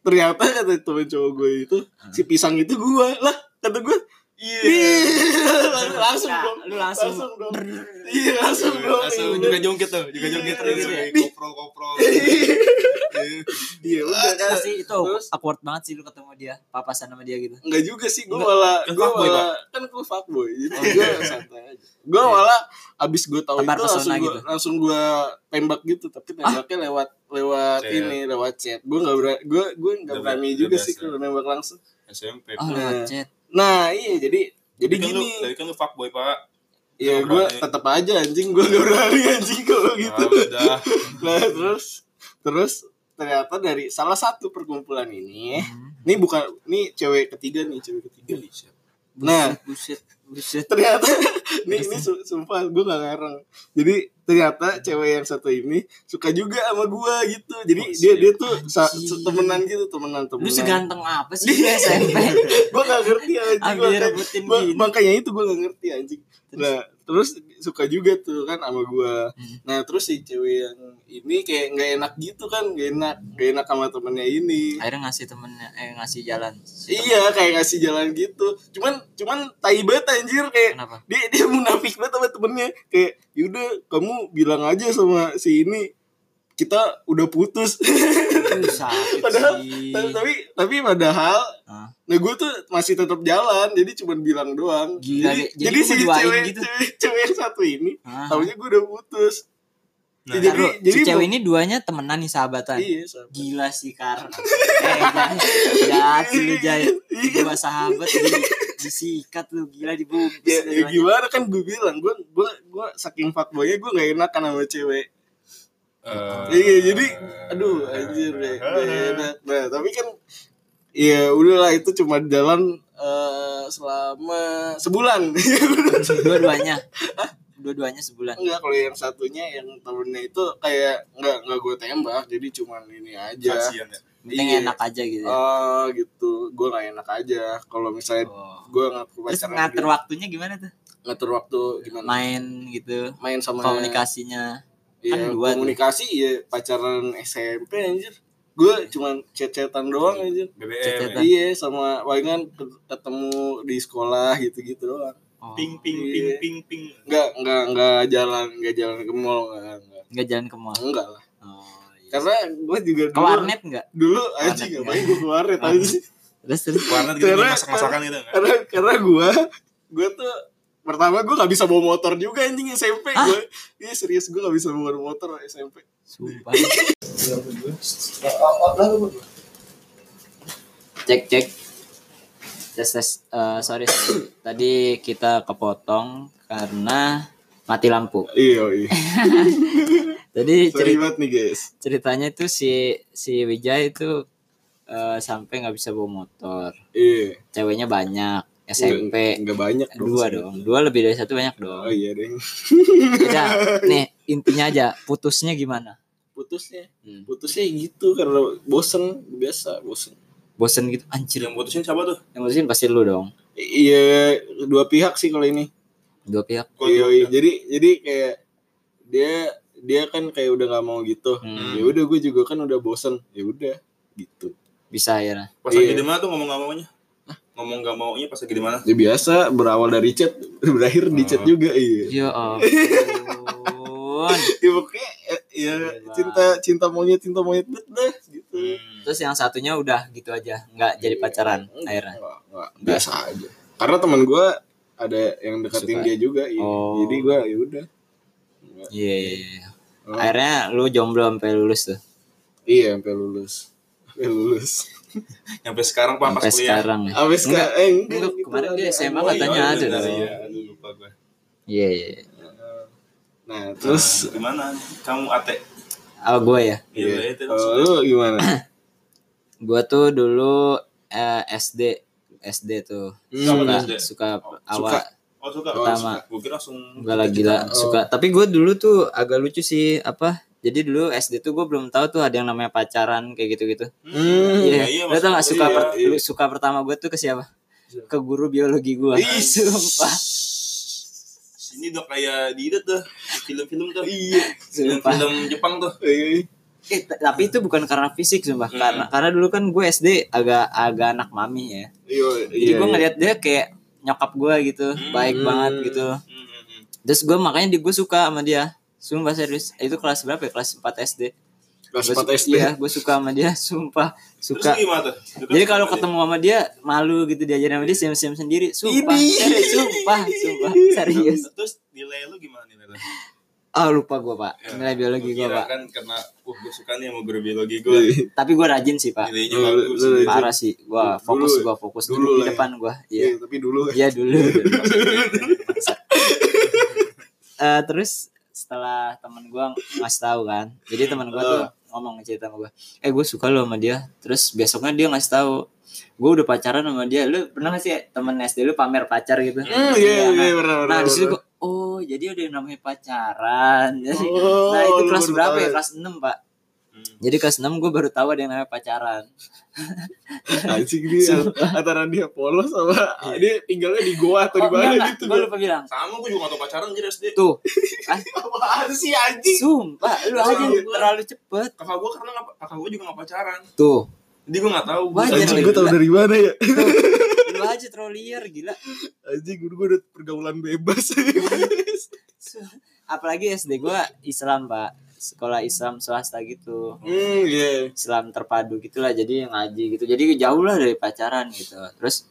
[SPEAKER 3] ternyata kata temen cowok gue itu si
[SPEAKER 1] Hmm.
[SPEAKER 3] pisang itu gue lah kata gue
[SPEAKER 2] Iya.
[SPEAKER 3] langsung langsung
[SPEAKER 1] Nah,
[SPEAKER 3] dong
[SPEAKER 1] lu langsung.
[SPEAKER 3] dong iya langsung dong
[SPEAKER 2] Langsung
[SPEAKER 3] Iya,
[SPEAKER 2] juga jongket tuh, juga jongket
[SPEAKER 3] Iya,
[SPEAKER 2] tuh.
[SPEAKER 3] iya.
[SPEAKER 2] Koprol-koprol.
[SPEAKER 3] iya udah kan
[SPEAKER 1] Pasti itu
[SPEAKER 3] Terus?
[SPEAKER 1] awkward banget sih lu ketemu dia, papasan sama dia gitu.
[SPEAKER 3] Enggak juga sih, gue
[SPEAKER 2] Enggak, kan
[SPEAKER 3] malah gue
[SPEAKER 2] fuckboy,
[SPEAKER 3] malah kan gue fuckboy,
[SPEAKER 1] Oh,
[SPEAKER 3] jadi gue santai aja. Gue malah abis gue tahu
[SPEAKER 1] Tebar iya.
[SPEAKER 3] itu
[SPEAKER 1] pesona
[SPEAKER 3] langsung gue
[SPEAKER 1] gitu. Ah.
[SPEAKER 3] langsung gue tembak gitu, tapi tembaknya lewat lewat
[SPEAKER 2] Chat.
[SPEAKER 3] ini lewat chat. Gue nggak berani, gue gue nggak
[SPEAKER 2] Udah
[SPEAKER 3] berani
[SPEAKER 2] biasa.
[SPEAKER 3] juga sih kalau nembak langsung.
[SPEAKER 2] SMP.
[SPEAKER 1] Oh, lewat chat.
[SPEAKER 3] Nah iya jadi Ah,
[SPEAKER 2] Jadi
[SPEAKER 3] jadi
[SPEAKER 2] kan lu,
[SPEAKER 3] gini,
[SPEAKER 2] jadi kan lu fuckboy, Pak.
[SPEAKER 3] ya
[SPEAKER 2] lu
[SPEAKER 3] gue
[SPEAKER 2] berani.
[SPEAKER 3] tetap aja anjing gue nggak berani anjing kalau gitu.
[SPEAKER 2] Ah, udah.
[SPEAKER 3] Nah terus terus ternyata dari salah satu perkumpulan ini,
[SPEAKER 2] Hmm.
[SPEAKER 3] ini bukan ini cewek ketiga nih cewek ketiga.
[SPEAKER 2] Iya,
[SPEAKER 3] Nah
[SPEAKER 1] Buset, buset, buset.
[SPEAKER 3] ternyata ini ini su- sumpah gue gak ngarang jadi ternyata cewek yang satu ini suka juga sama gue gitu jadi
[SPEAKER 2] Oh,
[SPEAKER 3] dia
[SPEAKER 2] shit.
[SPEAKER 3] dia tuh sa-
[SPEAKER 1] Anjing.
[SPEAKER 3] se- temenan gitu temenan
[SPEAKER 1] Lu
[SPEAKER 3] temenan
[SPEAKER 1] seganteng apa sih di
[SPEAKER 3] Iya.
[SPEAKER 1] SMP?
[SPEAKER 3] gue gak ngerti anjing
[SPEAKER 1] Ambil
[SPEAKER 3] makanya-
[SPEAKER 1] rebutin
[SPEAKER 3] ma-
[SPEAKER 1] gini.
[SPEAKER 3] makanya itu gue gak ngerti anjing nah terus suka juga tuh kan sama gue
[SPEAKER 1] Hmm.
[SPEAKER 3] nah terus si cewek yang ini kayak nggak enak gitu kan nggak enak nggak enak sama temennya ini
[SPEAKER 1] Akhirnya ngasih temennya eh ngasih jalan. Si temen.
[SPEAKER 3] Iya kayak ngasih jalan gitu Cuman cuman tai banget anjir kayak
[SPEAKER 1] Kenapa?
[SPEAKER 3] dia dia munafik banget sama temennya kayak yaudah kamu bilang aja sama si ini kita udah putus
[SPEAKER 1] Aduh, sakit
[SPEAKER 3] Padahal-
[SPEAKER 1] Iya sih.
[SPEAKER 3] tapi tapi- tapi padahal
[SPEAKER 1] Hah?
[SPEAKER 3] nah gue tuh masih tetap jalan jadi cuman bilang doang
[SPEAKER 1] Gila,
[SPEAKER 3] jadi,
[SPEAKER 1] jadi
[SPEAKER 3] jadi
[SPEAKER 1] lu
[SPEAKER 3] si
[SPEAKER 1] ngeduain
[SPEAKER 3] cewek,
[SPEAKER 1] gitu. Ah.
[SPEAKER 3] cewek cewek yang satu ini
[SPEAKER 1] Hah?
[SPEAKER 3] tahunya gue udah putus
[SPEAKER 2] Nah,
[SPEAKER 1] Bentar,
[SPEAKER 3] jadi
[SPEAKER 1] lu,
[SPEAKER 3] jadi
[SPEAKER 1] si cewek ini duanya temenan nih sahabatan.
[SPEAKER 3] iya sama.
[SPEAKER 1] Gila sih Kar. eh, Jay. jahat sih lu
[SPEAKER 3] Iya.
[SPEAKER 1] Jay. Dua sahabat di- disikat lu gila dibungkus.
[SPEAKER 3] ya,
[SPEAKER 1] lu duanya.
[SPEAKER 3] ya gimana kan gue bilang gue gue gue saking fuckboynya gue nggak enakan sama cewek
[SPEAKER 2] eh,
[SPEAKER 3] Iya jadi aduh anjir deh enak. Nah tapi kan ya udahlah itu cuma jalan eh, selama sebulan. Iya,
[SPEAKER 1] Dua-duanya. Dua-duanya sebulan.
[SPEAKER 3] Enggak kalau yang satunya yang tahunnya itu kayak nggak nggak gue tembak jadi cuman ini aja.
[SPEAKER 2] Kasian ya.
[SPEAKER 1] Penting
[SPEAKER 3] Iya.
[SPEAKER 1] enak aja gitu. ya.
[SPEAKER 3] Oh gitu gue nggak enak aja kalau misalnya
[SPEAKER 1] Oh.
[SPEAKER 3] gue ngaku
[SPEAKER 1] Terus
[SPEAKER 3] pacaran
[SPEAKER 1] ngatur
[SPEAKER 3] gitu.
[SPEAKER 1] waktunya gimana tuh?
[SPEAKER 3] ngatur waktu gimana
[SPEAKER 1] Main gitu,
[SPEAKER 3] main sama iya,
[SPEAKER 1] komunikasinya.
[SPEAKER 3] ya,
[SPEAKER 1] kan dua tuh.
[SPEAKER 3] komunikasi ya pacaran SMP anjir gue cuma cecetan doang aja
[SPEAKER 1] Cetetan.
[SPEAKER 2] BBM. ya.
[SPEAKER 3] iya sama palingan ke- ketemu di sekolah gitu gitu doang
[SPEAKER 1] Oh,
[SPEAKER 2] Ping ping ping
[SPEAKER 3] Iya.
[SPEAKER 2] ping ping.
[SPEAKER 3] nggak nggak nggak jalan nggak jalan ke mall nggak nggak
[SPEAKER 1] nggak jalan ke mall.
[SPEAKER 3] enggak lah
[SPEAKER 1] Oh, iya.
[SPEAKER 3] karena gue juga
[SPEAKER 1] Ke
[SPEAKER 3] dulu
[SPEAKER 1] warnet nggak?
[SPEAKER 3] dulu
[SPEAKER 1] Warnet
[SPEAKER 3] aja nggak
[SPEAKER 1] nggak?
[SPEAKER 3] main gue keluar ya tadi sih
[SPEAKER 1] Terus terus.
[SPEAKER 2] Warnet gitu
[SPEAKER 3] Karena-
[SPEAKER 2] masak-masakan gitu kan.
[SPEAKER 3] karena karena gue gue tuh pertama gue nggak bisa bawa motor juga anjing SMP gue iya serius gue nggak bisa bawa motor SMP
[SPEAKER 1] Sumpah. cek cek. Tes tes. Eh, sorry, sorry. Tadi kita kepotong karena mati lampu.
[SPEAKER 3] iya iya
[SPEAKER 1] Jadi
[SPEAKER 3] sorry
[SPEAKER 1] cerita
[SPEAKER 3] banget nih guys
[SPEAKER 1] ceritanya itu si si Wijay itu eh, sampai nggak bisa bawa motor
[SPEAKER 3] iya
[SPEAKER 1] ceweknya banyak
[SPEAKER 3] Nggak-
[SPEAKER 1] SMP
[SPEAKER 3] nggak banyak
[SPEAKER 1] dua dong dua lebih dari satu banyak dong
[SPEAKER 3] oh iya deng
[SPEAKER 1] udah nih intinya aja putusnya gimana
[SPEAKER 3] putusnya
[SPEAKER 1] Hmm.
[SPEAKER 3] putusnya gitu karena bosen biasa bosen
[SPEAKER 1] bosen gitu anjir
[SPEAKER 2] Yang putusin siapa tuh?
[SPEAKER 1] yang putusin pasti lu dong
[SPEAKER 3] I- iya dua pihak sih kalau ini
[SPEAKER 1] dua pihak
[SPEAKER 2] Gua
[SPEAKER 3] iya,
[SPEAKER 2] juga.
[SPEAKER 3] iya. jadi jadi kayak dia dia kan kayak udah nggak mau gitu
[SPEAKER 1] Hmm.
[SPEAKER 3] ya udah gue juga kan udah bosen ya udah gitu
[SPEAKER 1] bisa akhirnya
[SPEAKER 2] Pas lagi
[SPEAKER 3] Iya.
[SPEAKER 2] di mana tuh ngomong gak maunya? Ngomong gak maunya pas lagi di mana?
[SPEAKER 3] Ya biasa berawal dari chat berakhir di
[SPEAKER 2] Oh.
[SPEAKER 3] chat juga iya.
[SPEAKER 1] ya ampun
[SPEAKER 3] Ya pokoknya eh, ya
[SPEAKER 1] Gila.
[SPEAKER 3] cinta cinta monyet cinta monyet banget dah gitu.
[SPEAKER 1] terus yang satunya udah gitu aja nggak jadi pacaran akhirnya
[SPEAKER 3] Nggak- nggak, biasa aja. Karena teman gua ada yang deketin
[SPEAKER 1] Suka.
[SPEAKER 3] dia juga iya.
[SPEAKER 1] Oh.
[SPEAKER 3] Jadi gua ya udah.
[SPEAKER 1] iya iya, iya.
[SPEAKER 2] Oh.
[SPEAKER 1] akhirnya lu jomblo sampai lulus tuh
[SPEAKER 3] Iya sampai lulus. Sampai lulus.
[SPEAKER 2] Sampai sekarang pak pas
[SPEAKER 1] sampai
[SPEAKER 2] kuliah. Oh,
[SPEAKER 1] sekarang ya
[SPEAKER 3] Sampai sekarang eh enggak,
[SPEAKER 1] Enggak,
[SPEAKER 3] gitu
[SPEAKER 1] kemarin
[SPEAKER 3] ada
[SPEAKER 1] dia SMA
[SPEAKER 3] annoying.
[SPEAKER 1] katanya
[SPEAKER 2] iya,
[SPEAKER 1] ada
[SPEAKER 2] bener,
[SPEAKER 1] dong.
[SPEAKER 2] Iya, aduh, lupa gue.
[SPEAKER 1] iya iya iya.
[SPEAKER 3] Nah, terus
[SPEAKER 2] gimana? Kamu ate?
[SPEAKER 1] oh gue ya
[SPEAKER 2] Iya, udah, itu
[SPEAKER 3] kalau eh, lu gimana?
[SPEAKER 1] gue tuh dulu eh, SD SD tuh
[SPEAKER 3] Hmm.
[SPEAKER 1] suka
[SPEAKER 2] SD.
[SPEAKER 1] suka awal
[SPEAKER 2] Oh suka.
[SPEAKER 1] Pertama.
[SPEAKER 2] Gue kira langsung.
[SPEAKER 1] Enggak lah
[SPEAKER 2] gitu.
[SPEAKER 1] gila
[SPEAKER 2] Oh.
[SPEAKER 1] suka. Tapi gue dulu tuh agak lucu sih apa? Jadi dulu SD tuh gue belum tahu tuh ada yang namanya pacaran kayak gitu-gitu.
[SPEAKER 3] Hmm.
[SPEAKER 1] Iya.
[SPEAKER 2] iya,
[SPEAKER 1] Lo tau gak
[SPEAKER 2] maksud
[SPEAKER 1] suka
[SPEAKER 2] gue,
[SPEAKER 1] per-
[SPEAKER 3] iya.
[SPEAKER 1] lu- suka pertama gue tuh ke siapa? Ke guru biologi gue.
[SPEAKER 3] Ih.
[SPEAKER 1] Sumpah.
[SPEAKER 2] Sini udah kayak di itu tuh di film-film tuh. Iya.
[SPEAKER 1] Sumpah.
[SPEAKER 2] Film-film Jepang tuh.
[SPEAKER 3] Iya.
[SPEAKER 1] Eh, t- tapi itu bukan karena fisik sumpah. Karena karena dulu kan gue SD agak agak anak mami ya.
[SPEAKER 3] Iya.
[SPEAKER 1] Jadi
[SPEAKER 3] iya,
[SPEAKER 1] gue
[SPEAKER 3] iya.
[SPEAKER 1] ngeliat dia kayak nyokap gue gitu, baik
[SPEAKER 3] Hmm.
[SPEAKER 1] banget gitu.
[SPEAKER 2] Hmm, hmm, hmm.
[SPEAKER 1] Terus gue makanya di gue suka sama dia. Sumpah serius. Itu kelas berapa ya? Kelas 4 SD.
[SPEAKER 3] kelas
[SPEAKER 1] Gua
[SPEAKER 3] 4
[SPEAKER 1] su-
[SPEAKER 3] SD.
[SPEAKER 1] Iya, gue suka sama dia, sumpah.
[SPEAKER 2] Terus
[SPEAKER 1] Suka.
[SPEAKER 2] lu gimana tuh? Deket
[SPEAKER 1] Jadi kalau
[SPEAKER 2] sama dia?
[SPEAKER 1] ketemu sama dia malu gitu diajarin sama dia sim-sim sendiri. Sumpah,
[SPEAKER 3] Ini.
[SPEAKER 1] serius, sumpah, sumpah, serius.
[SPEAKER 2] Terus- Terus nilai lu gimana nilai lu?
[SPEAKER 1] Ah lupa gue pak,
[SPEAKER 3] Iya.
[SPEAKER 2] Ya,
[SPEAKER 1] nilai biologi
[SPEAKER 2] gua
[SPEAKER 1] gue
[SPEAKER 2] kira
[SPEAKER 1] pak. Iya.
[SPEAKER 2] kan karena uh gue suka nih sama guru biologi gue
[SPEAKER 1] Tapi gue rajin sih pak,
[SPEAKER 2] nilainya
[SPEAKER 3] Lu-
[SPEAKER 2] bagus
[SPEAKER 3] lu- lu-
[SPEAKER 1] parah sih. Gue fokus,
[SPEAKER 3] Dulu-
[SPEAKER 1] gue fokus
[SPEAKER 3] dulu
[SPEAKER 1] dulu
[SPEAKER 3] lah ya.
[SPEAKER 1] di depan gue. Iya,
[SPEAKER 3] Iya, tapi dulu
[SPEAKER 1] iya dulu. Bangsat. Eh, terus setelah temen gue ngasih tahu kan, jadi temen gue tuh ngomong cerita sama gue, eh gue suka lo sama dia. Terus besoknya dia ngasih tahu, gue udah pacaran sama dia. Lu pernah gak sih temen SD lu pamer pacar gitu?
[SPEAKER 3] Hmm,
[SPEAKER 1] Iya,
[SPEAKER 3] iya, iya, benar, benar.
[SPEAKER 1] Nah di situ
[SPEAKER 3] benar.
[SPEAKER 1] gua, oh jadi ada yang namanya pacaran. Jadi,
[SPEAKER 3] Oh,
[SPEAKER 1] nah itu
[SPEAKER 3] lu
[SPEAKER 1] kelas
[SPEAKER 3] baru
[SPEAKER 1] berapa ya?
[SPEAKER 3] tahu.
[SPEAKER 1] Kelas 6 pak.
[SPEAKER 2] Hmm.
[SPEAKER 1] Jadi kelas 6 gue baru tahu ada yang namanya pacaran.
[SPEAKER 3] Anjing dia antara dia polos sama
[SPEAKER 1] Iya.
[SPEAKER 3] dia tinggalnya di goa
[SPEAKER 1] Oh,
[SPEAKER 3] atau di mana gitu.
[SPEAKER 1] gue lupa bilang.
[SPEAKER 2] sama gue juga gak tau pacaran jadi SD
[SPEAKER 1] Tuh, kan?
[SPEAKER 3] Apaan sih anjing?
[SPEAKER 1] Sumpah, lu
[SPEAKER 2] Sama
[SPEAKER 1] aja
[SPEAKER 2] gua.
[SPEAKER 1] terlalu cepet.
[SPEAKER 2] kakak gue karena nggak- kakak gue juga gak pacaran
[SPEAKER 1] Tuh,
[SPEAKER 2] jadi gue gak tau
[SPEAKER 1] Wajar.
[SPEAKER 3] Anjing
[SPEAKER 1] Anjing,
[SPEAKER 3] gue tau
[SPEAKER 1] gila.
[SPEAKER 3] dari mana ya?
[SPEAKER 1] lu aja terlalu liar gila.
[SPEAKER 3] Anjing gue udah pergaulan bebas.
[SPEAKER 1] Su- Apalagi SD gue Islam pak, sekolah Islam swasta gitu.
[SPEAKER 3] hmm, iya.
[SPEAKER 1] Islam terpadu gitulah jadi ngaji gitu. Jadi jauh lah dari pacaran gitu. Terus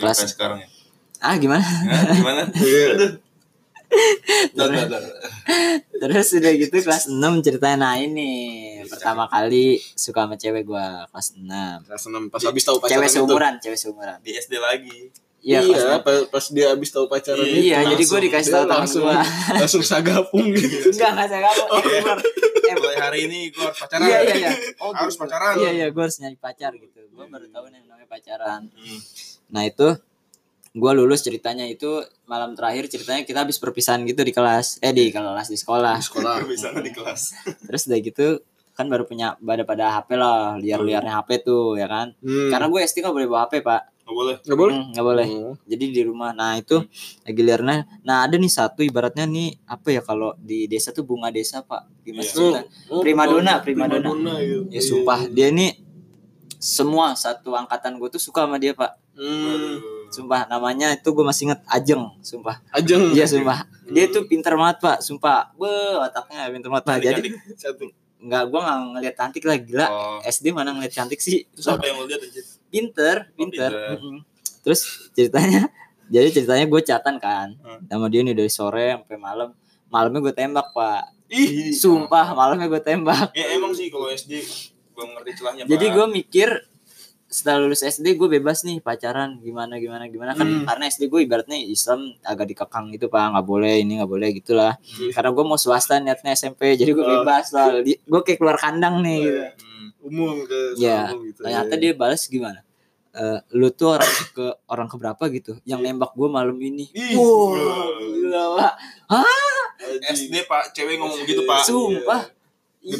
[SPEAKER 1] kelas
[SPEAKER 2] sekarang ya
[SPEAKER 1] ah gimana?
[SPEAKER 2] Hah, gimana
[SPEAKER 3] Iya.
[SPEAKER 2] Aduh. Dah, dah, dah.
[SPEAKER 1] Terus udah gitu kelas 6 ceritanya nah ini
[SPEAKER 3] Iya,
[SPEAKER 1] pertama kali suka sama cewek gua kelas 6.
[SPEAKER 3] Kelas enam pas habis tahu pacaran
[SPEAKER 1] Cewek
[SPEAKER 3] itu.
[SPEAKER 1] seumuran, cewek seumuran.
[SPEAKER 2] di SD lagi
[SPEAKER 1] Iya, kelas
[SPEAKER 3] iya,
[SPEAKER 1] enam.
[SPEAKER 3] pas, pas dia habis tahu pacaran
[SPEAKER 2] Iya,
[SPEAKER 3] itu
[SPEAKER 1] Iya, jadi gua
[SPEAKER 3] langsung-
[SPEAKER 1] dikasih
[SPEAKER 3] dia
[SPEAKER 1] tahu teman
[SPEAKER 3] langsung
[SPEAKER 1] gua.
[SPEAKER 3] langsung sagapung gitu.
[SPEAKER 1] Enggak, enggak saya kamu.
[SPEAKER 3] iya.
[SPEAKER 1] Eh, bener. Eh,
[SPEAKER 2] mulai hari ini gue harus pacaran
[SPEAKER 1] Iya, iya, iya. Oh,
[SPEAKER 2] harus
[SPEAKER 1] gitu.
[SPEAKER 2] pacaran
[SPEAKER 1] Iya, iya, gua harus nyari pacar gitu. Gua
[SPEAKER 3] Iya,
[SPEAKER 1] baru tahu yang namanya pacaran.
[SPEAKER 2] Hmm.
[SPEAKER 1] Nah, itu gua lulus ceritanya itu malam terakhir ceritanya kita habis perpisahan gitu di kelas. Eh, di kelas di sekolah.
[SPEAKER 3] Sekolah.
[SPEAKER 2] Gua bisa di kelas
[SPEAKER 1] Terus udah gitu kan baru punya pada pada HP lah, liar-liarnya HP tuh ya kan.
[SPEAKER 3] Hmm.
[SPEAKER 1] Karena gue SD gak boleh bawa HP pak
[SPEAKER 2] nggak boleh
[SPEAKER 3] nggak boleh
[SPEAKER 1] Hmm, nggak boleh jadi di rumah nah itu
[SPEAKER 2] Hmm.
[SPEAKER 1] gilirannya nah ada nih satu ibaratnya nih apa ya kalau di desa tuh bunga desa pak gimana
[SPEAKER 2] Iya.
[SPEAKER 1] sebutnya?
[SPEAKER 3] Hmm.
[SPEAKER 1] Primadona, primadona.
[SPEAKER 3] gitu.
[SPEAKER 1] ya sumpah dia nih semua satu angkatan gue tuh suka sama dia pak
[SPEAKER 3] Hmm,
[SPEAKER 1] sumpah namanya itu gue masih inget Ajeng sumpah
[SPEAKER 3] ajeng
[SPEAKER 2] Hmm.
[SPEAKER 1] iya sumpah dia tuh pinter banget pak sumpah be otaknya pinter banget pak jadi
[SPEAKER 3] satu
[SPEAKER 1] nggak gue nggak ngeliat cantik lah gila
[SPEAKER 2] Oh.
[SPEAKER 1] SD mana ngeliat cantik sih
[SPEAKER 2] Terus apa yang lo lihat aja?
[SPEAKER 1] pinter
[SPEAKER 2] Oh, pinter.
[SPEAKER 1] pinter Mm-mm. terus ceritanya jadi ceritanya gue catatan kan
[SPEAKER 2] Hmm.
[SPEAKER 1] sama dia nih dari sore sampai malam malamnya gue tembak pak
[SPEAKER 2] Ih,
[SPEAKER 3] Iya.
[SPEAKER 1] sumpah malamnya gue tembak
[SPEAKER 2] Ya emang sih kalau SD belum ngerti celahnya.
[SPEAKER 1] jadi
[SPEAKER 2] Pak.
[SPEAKER 1] gue mikir setelah lulus SD gue bebas nih pacaran gimana gimana gimana kan karena SD gue ibaratnya Islam agak dikekang gitu pak nggak boleh ini nggak boleh gitulah karena gue mau swasta niatnya SMP jadi gue
[SPEAKER 3] Oh.
[SPEAKER 1] bebas lah Di- gue kayak keluar kandang nih gitu.
[SPEAKER 2] Hmm.
[SPEAKER 3] umum ke
[SPEAKER 1] Iya,
[SPEAKER 3] umum gitu.
[SPEAKER 1] ternyata dia balas gimana Eh, lu tuh orang ke orang keberapa gitu yang nembak gue malam ini
[SPEAKER 2] Ih,
[SPEAKER 1] Wah,
[SPEAKER 2] bro.
[SPEAKER 1] gila Pak.
[SPEAKER 3] Ajeng.
[SPEAKER 2] SD Pak, cewek ngomong gitu Pak.
[SPEAKER 1] sumpah Ah, Iya.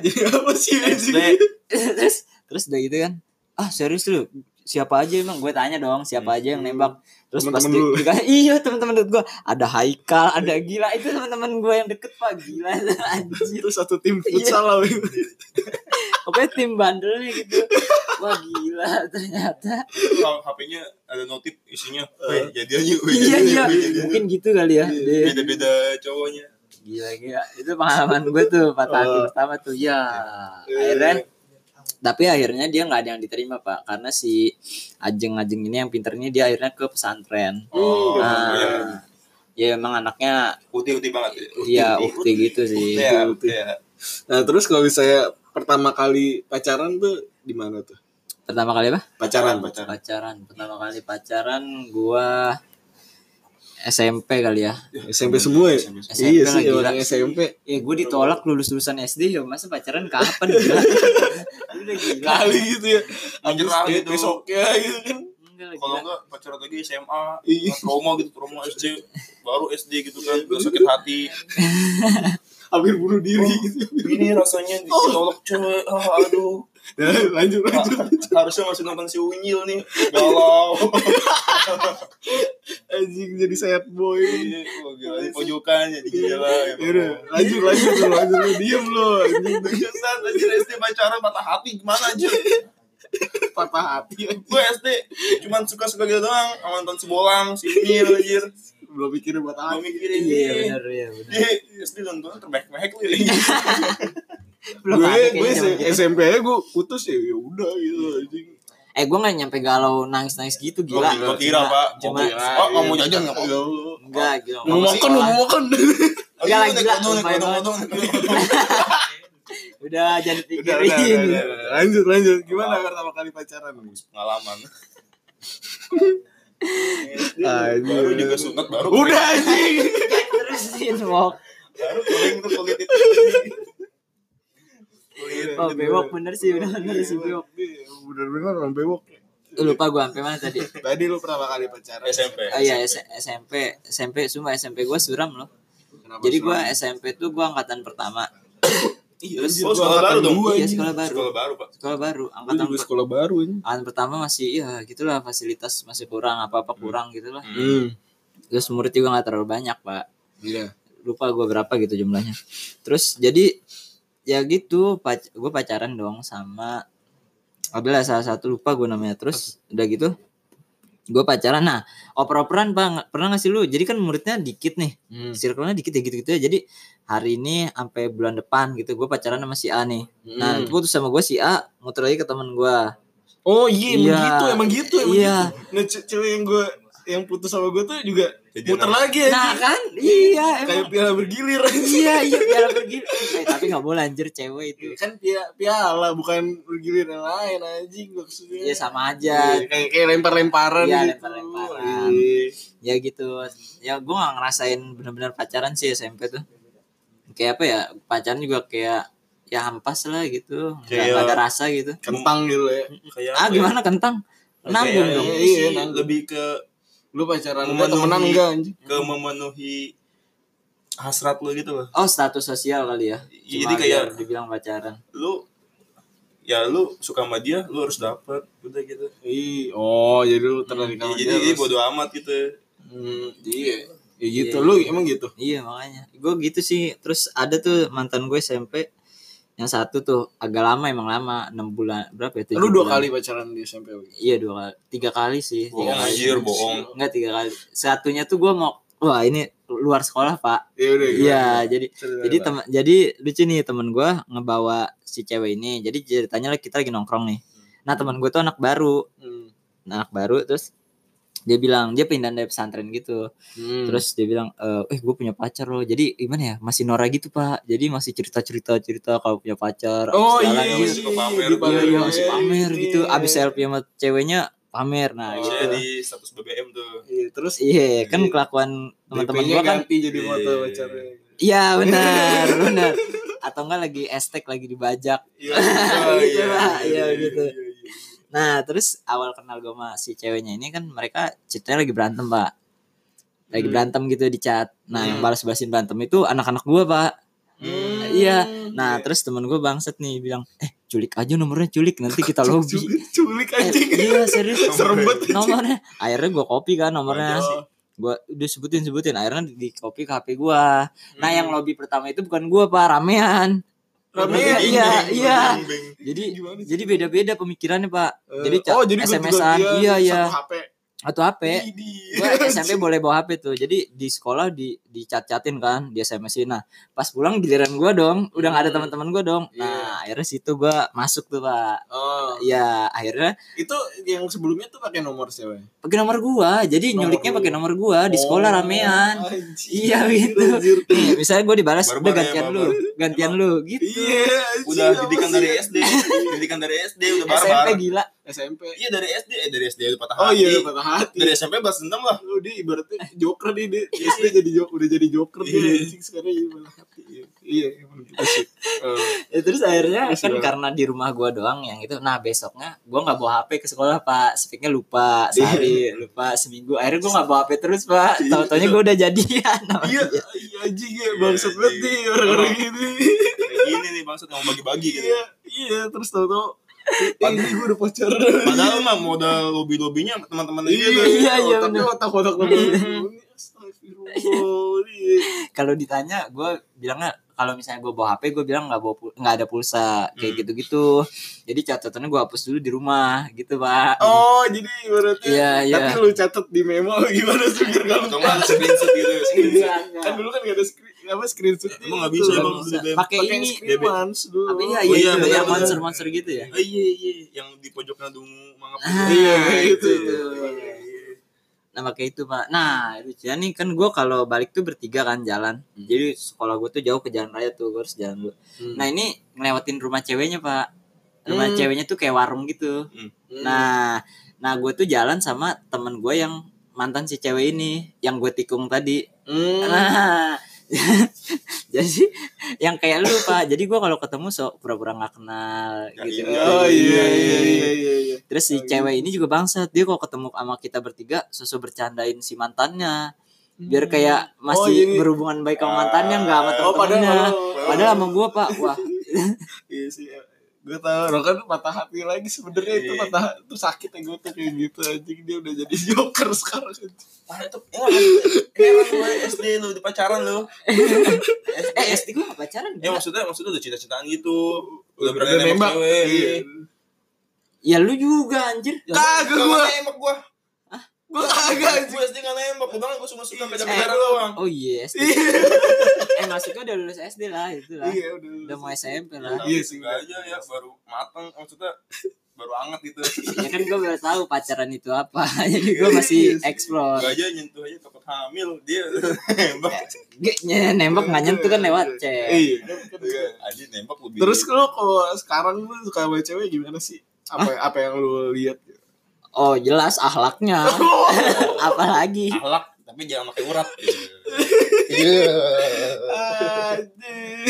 [SPEAKER 3] gedenya jadi apa sih
[SPEAKER 2] SD.
[SPEAKER 1] terus terus udah gitu kan ah serius lu siapa aja emang gue tanya dong siapa aja yang nembak terus pasti
[SPEAKER 3] Temen-temen lu.
[SPEAKER 1] dikasih iya teman-teman gue ada Haikal ada gila itu teman-teman gue yang deket pak gila anjir
[SPEAKER 3] itu satu
[SPEAKER 1] Iya.
[SPEAKER 3] tim futsal lah gitu.
[SPEAKER 1] pokoknya tim bandelnya gitu wah gila ternyata
[SPEAKER 2] Kalau HP-nya ada notif isinya, "Weh, jadian yuk, weh,
[SPEAKER 1] iya iya
[SPEAKER 2] jadian yuk, weh, jadian yuk."
[SPEAKER 1] mungkin gitu kali ya dia
[SPEAKER 2] Beda-beda cowoknya.
[SPEAKER 1] gila gila itu pengalaman gue tuh patah hati
[SPEAKER 3] Oh.
[SPEAKER 1] pertama tuh ya akhirnya tapi akhirnya dia nggak ada yang diterima pak karena si ajeng ajeng ini yang pinternya dia akhirnya ke pesantren
[SPEAKER 2] Oh, iya.
[SPEAKER 1] nah, ya emang anaknya
[SPEAKER 2] Putih-putih banget.
[SPEAKER 1] ya ukti gitu sih
[SPEAKER 2] Iya, iya.
[SPEAKER 3] nah terus kalau misalnya pertama kali pacaran tuh di mana tuh
[SPEAKER 1] pertama kali apa
[SPEAKER 3] pacaran pacaran
[SPEAKER 1] pacaran pertama kali pacaran gua SMP kali ya
[SPEAKER 3] SMP semua ya
[SPEAKER 2] SMP.
[SPEAKER 1] SMP
[SPEAKER 3] iya sih
[SPEAKER 1] lagi,
[SPEAKER 3] orang
[SPEAKER 1] gila.
[SPEAKER 3] SMP
[SPEAKER 1] ya gue ditolak lulus lulusan SD ya masa pacaran kapan gila Lu udah gila
[SPEAKER 3] kali gitu ya
[SPEAKER 2] Anjir lah gitu.
[SPEAKER 3] besoknya gitu kan
[SPEAKER 1] Enggak lah,
[SPEAKER 2] Kalau
[SPEAKER 1] gila.
[SPEAKER 2] enggak pacaran lagi SMA,
[SPEAKER 3] Iya.
[SPEAKER 2] trauma gitu, trauma SD, baru SD gitu kan, udah sakit hati.
[SPEAKER 3] hampir bunuh diri
[SPEAKER 1] Oh.
[SPEAKER 3] gitu
[SPEAKER 2] Ini rasanya ditolak cewek, ah, aduh. Ah,
[SPEAKER 3] Nah, lanjut lanjut
[SPEAKER 2] Harusnya masih nonton si Unyil nih, galau.
[SPEAKER 3] anjing jadi sad boy
[SPEAKER 2] Iya, wah, gila, di pojokan jadi gila.
[SPEAKER 3] Yaudah, lanjut lanjut lo lanjut lo diem lo anjing
[SPEAKER 2] Biasan aja SD pacaran patah hati gimana aja
[SPEAKER 3] patah hati anjing.
[SPEAKER 2] Gue SD cuman suka-suka gitu doang Sama nonton sebolang, si Mil, anjir
[SPEAKER 3] belum mikirin buat
[SPEAKER 2] Gue
[SPEAKER 3] apa
[SPEAKER 2] mikirin
[SPEAKER 1] iya benar iya benar
[SPEAKER 2] Di SD nonton terbaik-baik lu ya
[SPEAKER 1] Iya. Belum
[SPEAKER 3] gue
[SPEAKER 1] ada kayaknya
[SPEAKER 3] gue
[SPEAKER 1] zaman gitu.
[SPEAKER 3] SMP nya gue putus ya ya udah gitu anjing
[SPEAKER 1] Eh gue gak nyampe galau nangis-nangis gitu gila
[SPEAKER 2] Gua kira pak
[SPEAKER 1] Cuma-
[SPEAKER 2] Gua kira. Oh kamu jajan gak
[SPEAKER 3] Iya, Ya
[SPEAKER 2] pak?
[SPEAKER 3] Allah. kan,
[SPEAKER 1] Enggak gila
[SPEAKER 3] mau makan lu, mau makan
[SPEAKER 1] Enggak lagi lah,
[SPEAKER 2] Kodong,
[SPEAKER 1] lumayan
[SPEAKER 2] kodong, kodong
[SPEAKER 1] Udah jangan
[SPEAKER 3] udah udah, udah,
[SPEAKER 1] dipikirin
[SPEAKER 3] udah, udah. lanjut lanjut gimana pertama kali pacaran
[SPEAKER 2] Pengalaman
[SPEAKER 3] Anjir.
[SPEAKER 2] Baru juga sunat, baru
[SPEAKER 3] udah anjing
[SPEAKER 1] Terusin Wok
[SPEAKER 2] Baru kuling tuh kulit itu Kulit
[SPEAKER 1] Oh bewok bener sih udah bener sih bewok
[SPEAKER 3] Iya, bener-bener orang bewok
[SPEAKER 1] Eh, Lupa gue sampai mana tadi
[SPEAKER 3] tadi lu pertama kali pacaran
[SPEAKER 2] SMP
[SPEAKER 1] Oh iya S- SMP SMP Sumpah SMP gue suram loh
[SPEAKER 3] Kenapa
[SPEAKER 1] Jadi gue
[SPEAKER 3] sekarang?
[SPEAKER 1] SMP tuh gue angkatan pertama
[SPEAKER 2] Iya,
[SPEAKER 1] Terus-
[SPEAKER 2] oh, sekolah baru dong
[SPEAKER 3] Gua
[SPEAKER 1] Iya sekolah baru
[SPEAKER 2] Sekolah baru pak
[SPEAKER 1] Sekolah baru
[SPEAKER 3] Lu
[SPEAKER 1] Angkatan
[SPEAKER 3] juga
[SPEAKER 1] per-
[SPEAKER 3] sekolah baru ini
[SPEAKER 1] angkatan pertama masih ya gitulah fasilitas masih kurang apa-apa kurang gitulah
[SPEAKER 3] hmm
[SPEAKER 1] Terus murid juga gak terlalu banyak pak
[SPEAKER 3] iya
[SPEAKER 1] lupa gue berapa gitu jumlahnya terus jadi ya gitu pac gue pacaran dong sama adalah salah satu lupa gue namanya terus udah gitu gue pacaran nah oper-operan pak Nggak- pernah nggak sih lu jadi kan muridnya dikit nih
[SPEAKER 3] Hmm.
[SPEAKER 1] circle-nya dikit ya gitu-gitu ya jadi hari ini sampai bulan depan gitu gue pacaran sama si A nih nah
[SPEAKER 3] Hmm.
[SPEAKER 1] putus sama gue si A muter lagi ke temen gue
[SPEAKER 3] oh iya emang
[SPEAKER 1] Iya.
[SPEAKER 3] gitu emang gitu emang
[SPEAKER 1] Iya.
[SPEAKER 3] gitu nah ce- cewek yang gue yang putus sama gue tuh juga
[SPEAKER 2] Jadi
[SPEAKER 3] muter
[SPEAKER 2] anak-
[SPEAKER 3] lagi
[SPEAKER 1] nah
[SPEAKER 3] anjing
[SPEAKER 1] kan iya
[SPEAKER 3] iya. kayak
[SPEAKER 1] emang
[SPEAKER 3] piala bergilir anjing.
[SPEAKER 1] iya iya piala pergi Eh, tapi nggak boleh anjir cewek itu
[SPEAKER 3] kan pia- piala bukan bergilir yang lain anjing maksudnya
[SPEAKER 1] ya sama aja
[SPEAKER 3] Iya, kayak kayak lempar-lemparan
[SPEAKER 1] Iya,
[SPEAKER 3] gitu.
[SPEAKER 1] lempar-lemparan.
[SPEAKER 3] Iya.
[SPEAKER 1] ya gitu ya gue gak ngerasain bener-bener pacaran sih SMP tuh kayak apa ya pacaran juga kayak ya hampas lah gitu nggak
[SPEAKER 2] Kayak-
[SPEAKER 1] nggak ada rasa gitu
[SPEAKER 3] kentang gitu ya
[SPEAKER 2] Kayak
[SPEAKER 1] ah
[SPEAKER 2] apa ya?
[SPEAKER 1] gimana kentang nanggung
[SPEAKER 2] Kayak
[SPEAKER 1] dong
[SPEAKER 3] iya,
[SPEAKER 2] ini sih,
[SPEAKER 3] iya, nanggung.
[SPEAKER 2] lebih ke
[SPEAKER 3] lu pacaran udah
[SPEAKER 2] Memenuhi-
[SPEAKER 3] temenan enggak anjing
[SPEAKER 2] ke memenuhi hasrat lo gitu loh
[SPEAKER 1] oh status sosial kali ya
[SPEAKER 2] Iya,
[SPEAKER 1] Cuma
[SPEAKER 2] jadi kayak-
[SPEAKER 1] biar dibilang pacaran
[SPEAKER 2] lu ya lu suka sama dia lu harus dapat udah gitu
[SPEAKER 3] Ih, oh jadi lu tertarik
[SPEAKER 2] ya,
[SPEAKER 3] sama
[SPEAKER 2] jadi
[SPEAKER 3] dia,
[SPEAKER 2] jadi
[SPEAKER 3] terus-
[SPEAKER 2] bodo amat gitu
[SPEAKER 3] Hmm, iya. Ya gitu, lu emang gitu.
[SPEAKER 1] Iya makanya Gue gitu sih Terus ada tuh mantan gue SMP Yang satu tuh agak lama emang lama 6 bulan Berapa ya? tujuh
[SPEAKER 3] Lu dua
[SPEAKER 1] bulan.
[SPEAKER 3] kali pacaran di SMP. Wi?
[SPEAKER 1] Iya dua kali Tiga kali sih
[SPEAKER 3] Iya,
[SPEAKER 1] tiga
[SPEAKER 2] bohong
[SPEAKER 1] kali.
[SPEAKER 2] anjir bohong
[SPEAKER 1] Enggak tiga kali Satunya tuh gue mau Wah ini luar sekolah pak
[SPEAKER 3] Ya udah. gimana?
[SPEAKER 1] Iya jadi
[SPEAKER 3] Cerita,
[SPEAKER 1] jadi
[SPEAKER 3] Pak.
[SPEAKER 1] teman jadi lucu nih temen gue ngebawa si cewek ini jadi ceritanya lah kita lagi nongkrong nih nah teman gue tuh anak baru Nah,
[SPEAKER 3] Hmm.
[SPEAKER 1] anak baru terus dia bilang dia pindah dari pesantren gitu
[SPEAKER 3] Hmm.
[SPEAKER 1] terus dia bilang "Eh, eh gue punya pacar loh jadi gimana ya masih Nora gitu pak jadi masih cerita cerita cerita kalau punya pacar abis jalan
[SPEAKER 3] Oh iya,
[SPEAKER 2] yang
[SPEAKER 1] sama-
[SPEAKER 2] masih suka pamer
[SPEAKER 3] di
[SPEAKER 1] iya
[SPEAKER 2] pamer,
[SPEAKER 1] iya,
[SPEAKER 2] iya,
[SPEAKER 1] masih
[SPEAKER 2] iya,
[SPEAKER 1] pamer
[SPEAKER 3] iya.
[SPEAKER 1] gitu abis selfie sama ceweknya pamer nah
[SPEAKER 3] Oh,
[SPEAKER 1] gitu
[SPEAKER 2] bisa di status BBM tuh
[SPEAKER 3] Iya, terus
[SPEAKER 1] iya kan
[SPEAKER 2] Jadi,
[SPEAKER 1] kelakuan teman-teman
[SPEAKER 3] DP-nya
[SPEAKER 1] gue kan
[SPEAKER 3] ganti jadi motor
[SPEAKER 2] Iya.
[SPEAKER 3] pacarnya.
[SPEAKER 1] iya benar benar atau enggak lagi estek lagi dibajak
[SPEAKER 2] iya
[SPEAKER 1] Gitu, Pak. Iya, gitu.
[SPEAKER 2] iya, iya.
[SPEAKER 1] Nah terus awal kenal gue sama si ceweknya ini kan mereka ceritanya lagi berantem pak Lagi
[SPEAKER 3] Hmm.
[SPEAKER 1] berantem gitu di chat Nah yang
[SPEAKER 3] Hmm.
[SPEAKER 1] balas-balasin berantem itu anak-anak gue pak
[SPEAKER 3] Hmm.
[SPEAKER 1] Iya. Nah
[SPEAKER 2] Iya.
[SPEAKER 1] terus temen gue bangset nih bilang Eh culik aja nomornya culik nanti kita lobby
[SPEAKER 3] Culik, culik
[SPEAKER 1] Eh,
[SPEAKER 3] anjing.
[SPEAKER 1] Iya serius
[SPEAKER 3] Serem banget.
[SPEAKER 1] Nomornya Akhirnya gue copy kan nomornya
[SPEAKER 2] Oh.
[SPEAKER 1] Gue udah sebutin-sebutin Akhirnya di copy ke HP gue Nah
[SPEAKER 3] Hmm.
[SPEAKER 1] yang lobby pertama itu bukan gue pak Ramean Iya
[SPEAKER 3] Ramean,
[SPEAKER 2] Beng, beng,
[SPEAKER 1] iya
[SPEAKER 2] beng, beng.
[SPEAKER 1] Jadi
[SPEAKER 3] Gimana sih?
[SPEAKER 1] jadi beda-beda pemikirannya pak
[SPEAKER 3] Eh,
[SPEAKER 1] jadi ca-
[SPEAKER 3] oh, jadi gua juga
[SPEAKER 1] SMS-an,
[SPEAKER 3] dia
[SPEAKER 1] iya, iya.
[SPEAKER 3] Satu HP.
[SPEAKER 1] Atau HP
[SPEAKER 3] Idi.
[SPEAKER 1] gue SMP boleh bawa HP tuh jadi di sekolah di dicat-catin kan di SMS nah pas pulang giliran gue dong udah gak ada
[SPEAKER 3] Hmm.
[SPEAKER 1] teman-teman gue dong nah akhirnya situ gue masuk tuh pak
[SPEAKER 3] Oh,
[SPEAKER 1] ya akhirnya
[SPEAKER 3] itu yang sebelumnya tuh pakai nomor siapa?
[SPEAKER 1] pakai nomor gue jadi
[SPEAKER 3] Nomor
[SPEAKER 1] nyuliknya
[SPEAKER 3] lu.
[SPEAKER 1] pakai nomor gue di sekolah
[SPEAKER 3] Oh,
[SPEAKER 1] ramean
[SPEAKER 3] anjing.
[SPEAKER 1] Iya, gitu.
[SPEAKER 3] Anjir.
[SPEAKER 1] Nih, misalnya gue dibalas udah
[SPEAKER 2] Barbar ya,
[SPEAKER 1] gantian lu
[SPEAKER 2] barbar."
[SPEAKER 1] gantian lu gitu
[SPEAKER 3] Iya, anjing,
[SPEAKER 2] udah
[SPEAKER 3] apa
[SPEAKER 2] didikan
[SPEAKER 3] sih?
[SPEAKER 2] dari SD didikan dari SD udah barbar
[SPEAKER 1] SMP gila
[SPEAKER 3] SMP.
[SPEAKER 2] iya dari SD eh dari SD udah patah
[SPEAKER 3] Oh iya,
[SPEAKER 2] hati.
[SPEAKER 3] udah patah hati.
[SPEAKER 2] dari SMP balas dendam lah
[SPEAKER 3] Lu dia ibaratnya joker dia, dia SD jadi joker, udah jadi joker dia
[SPEAKER 2] Iya.
[SPEAKER 3] anjing sekarang jadi patah hati. Iya, emang gitu sih. Eh,
[SPEAKER 1] Ya, terus akhirnya
[SPEAKER 3] Terus
[SPEAKER 1] kan
[SPEAKER 3] udah.
[SPEAKER 1] karena di rumah gue doang yang itu nah besoknya gue nggak bawa HP ke sekolah pak speaknya lupa sehari lupa seminggu akhirnya gue nggak bawa HP terus pak
[SPEAKER 2] Iya,
[SPEAKER 1] tau taunya
[SPEAKER 2] itu.
[SPEAKER 1] gue udah jadian sama
[SPEAKER 3] Iya, iya anjing ya
[SPEAKER 2] Iya,
[SPEAKER 3] bangsat banget
[SPEAKER 2] anjing.
[SPEAKER 3] nih orang-orang ini.
[SPEAKER 2] kayak gini nih bangsat mau bagi-bagi gitu
[SPEAKER 3] Iya, iya terus tau-tau eh, ini gue udah pacaran.
[SPEAKER 2] padahal mah modal lobby lobinya teman-teman
[SPEAKER 3] Iya,
[SPEAKER 2] dia
[SPEAKER 1] iya,
[SPEAKER 2] tuh
[SPEAKER 3] iya,
[SPEAKER 1] iya,
[SPEAKER 3] iya. Tapi
[SPEAKER 1] bener.
[SPEAKER 3] otak-otak lo bilang, Astagfirullah. iya.
[SPEAKER 1] kalau ditanya gue bilangnya kalau misalnya gue bawa HP gue bilang nggak bawa pul- nggak ada pulsa kayak
[SPEAKER 2] Hmm.
[SPEAKER 1] gitu gitu jadi catatannya gue hapus dulu di rumah gitu pak
[SPEAKER 3] Oh, jadi ibaratnya.
[SPEAKER 1] Iya, iya.
[SPEAKER 3] Tapi lu catat di memo gimana sih biar gak
[SPEAKER 2] atau nggak ada screenshot gitu screenshot
[SPEAKER 1] Iya, iya.
[SPEAKER 3] Kan dulu kan gak ada screen, apa gitu. screenshot.
[SPEAKER 2] Emang nggak bisa,
[SPEAKER 1] Nggak
[SPEAKER 2] Bang,
[SPEAKER 1] bisa.
[SPEAKER 2] dulu DM.
[SPEAKER 1] pakai
[SPEAKER 3] Pakai
[SPEAKER 1] ini
[SPEAKER 3] screen once dulu.
[SPEAKER 1] apa iya
[SPEAKER 2] Oh,
[SPEAKER 1] iya
[SPEAKER 2] iya,
[SPEAKER 1] itu,
[SPEAKER 2] benar,
[SPEAKER 1] yang
[SPEAKER 2] benar.
[SPEAKER 1] monster monster gitu ya
[SPEAKER 2] Oh, iya iya yang di pojoknya dungu mangap
[SPEAKER 1] Ah,
[SPEAKER 2] gitu.
[SPEAKER 3] Iya, itu.
[SPEAKER 1] nah pakai itu pak nah lucunya nih kan gue kalau balik tuh bertiga kan jalan
[SPEAKER 3] Hmm.
[SPEAKER 1] jadi sekolah gue tuh jauh ke jalan raya tuh gue harus jalan dulu nah ini ngelewatin rumah ceweknya pak rumah
[SPEAKER 3] Hmm.
[SPEAKER 1] ceweknya tuh kayak warung gitu nah nah gue tuh jalan sama temen gue yang mantan si cewek ini yang gue tikung tadi
[SPEAKER 3] Hmm.
[SPEAKER 1] nah jadi yang kayak lu pak jadi gue kalau ketemu sok pura-pura nggak kenal
[SPEAKER 2] Ya,
[SPEAKER 1] gitu
[SPEAKER 2] iya.
[SPEAKER 3] Oh iya iya iya iya. iya.
[SPEAKER 1] Terus si
[SPEAKER 3] Oh, gitu.
[SPEAKER 1] cewek ini juga bangsat. Dia kalau ketemu sama kita bertiga, susu bercandain si mantannya. Biar kayak
[SPEAKER 3] Oh,
[SPEAKER 1] masih
[SPEAKER 3] jadi-
[SPEAKER 1] berhubungan baik sama mantannya enggak sama
[SPEAKER 3] Oh padahal
[SPEAKER 1] temen-temennya.
[SPEAKER 3] oh,
[SPEAKER 1] Padahal sama gua, Pak. Wah,
[SPEAKER 3] Iya sih. Gue tau Rokan kan patah hati lagi sebenarnya itu
[SPEAKER 2] Iya.
[SPEAKER 3] patah itu sakit ya gue tuh kayak gitu anjing dia udah jadi joker sekarang.
[SPEAKER 2] Parah itu Eh, emang emang gue SD lu di pacaran lu
[SPEAKER 1] eh SD gua nggak pacaran.
[SPEAKER 2] ya maksudnya maksudnya udah cinta-cintaan gitu udah
[SPEAKER 3] Udah
[SPEAKER 2] berani nembak
[SPEAKER 3] nembak.
[SPEAKER 2] cewek
[SPEAKER 3] Iya.
[SPEAKER 1] Ya lu juga anjir.
[SPEAKER 3] Kagak
[SPEAKER 2] Nggak
[SPEAKER 3] gua.
[SPEAKER 2] nembak gua
[SPEAKER 3] Gue kagak anjing.
[SPEAKER 2] gue SD nggak nembak gue bilang gue cuma suka beda
[SPEAKER 1] Eh.
[SPEAKER 2] beda doang
[SPEAKER 1] Oh iya, SD. eh masuknya udah lulus SD lah, itu lah.
[SPEAKER 3] Iya udah.
[SPEAKER 1] Udah mau SMP
[SPEAKER 2] Nah,
[SPEAKER 1] lah.
[SPEAKER 3] Iya
[SPEAKER 2] iya sih
[SPEAKER 3] sih, bener.
[SPEAKER 2] aja ya baru mateng maksudnya baru anget gitu
[SPEAKER 1] Ya kan gua baru tahu pacaran itu apa. Jadi gua
[SPEAKER 3] Iya,
[SPEAKER 1] masih
[SPEAKER 2] Gak
[SPEAKER 1] explore.
[SPEAKER 2] aja nyentuh aja takut hamil dia nembak
[SPEAKER 1] Ge- nye- nembak nggak nyentuh kan lewat chat.
[SPEAKER 3] Iya.
[SPEAKER 2] Iya, aja nembak lebih
[SPEAKER 3] Terus lu kalau sekarang lu suka sama cewek gimana sih? Apa apa yang lu lihat?
[SPEAKER 1] Oh, jelas akhlaknya. Apalagi.
[SPEAKER 2] akhlak tapi jangan pakai urat
[SPEAKER 3] Iya.
[SPEAKER 2] Iya.
[SPEAKER 3] Anjing.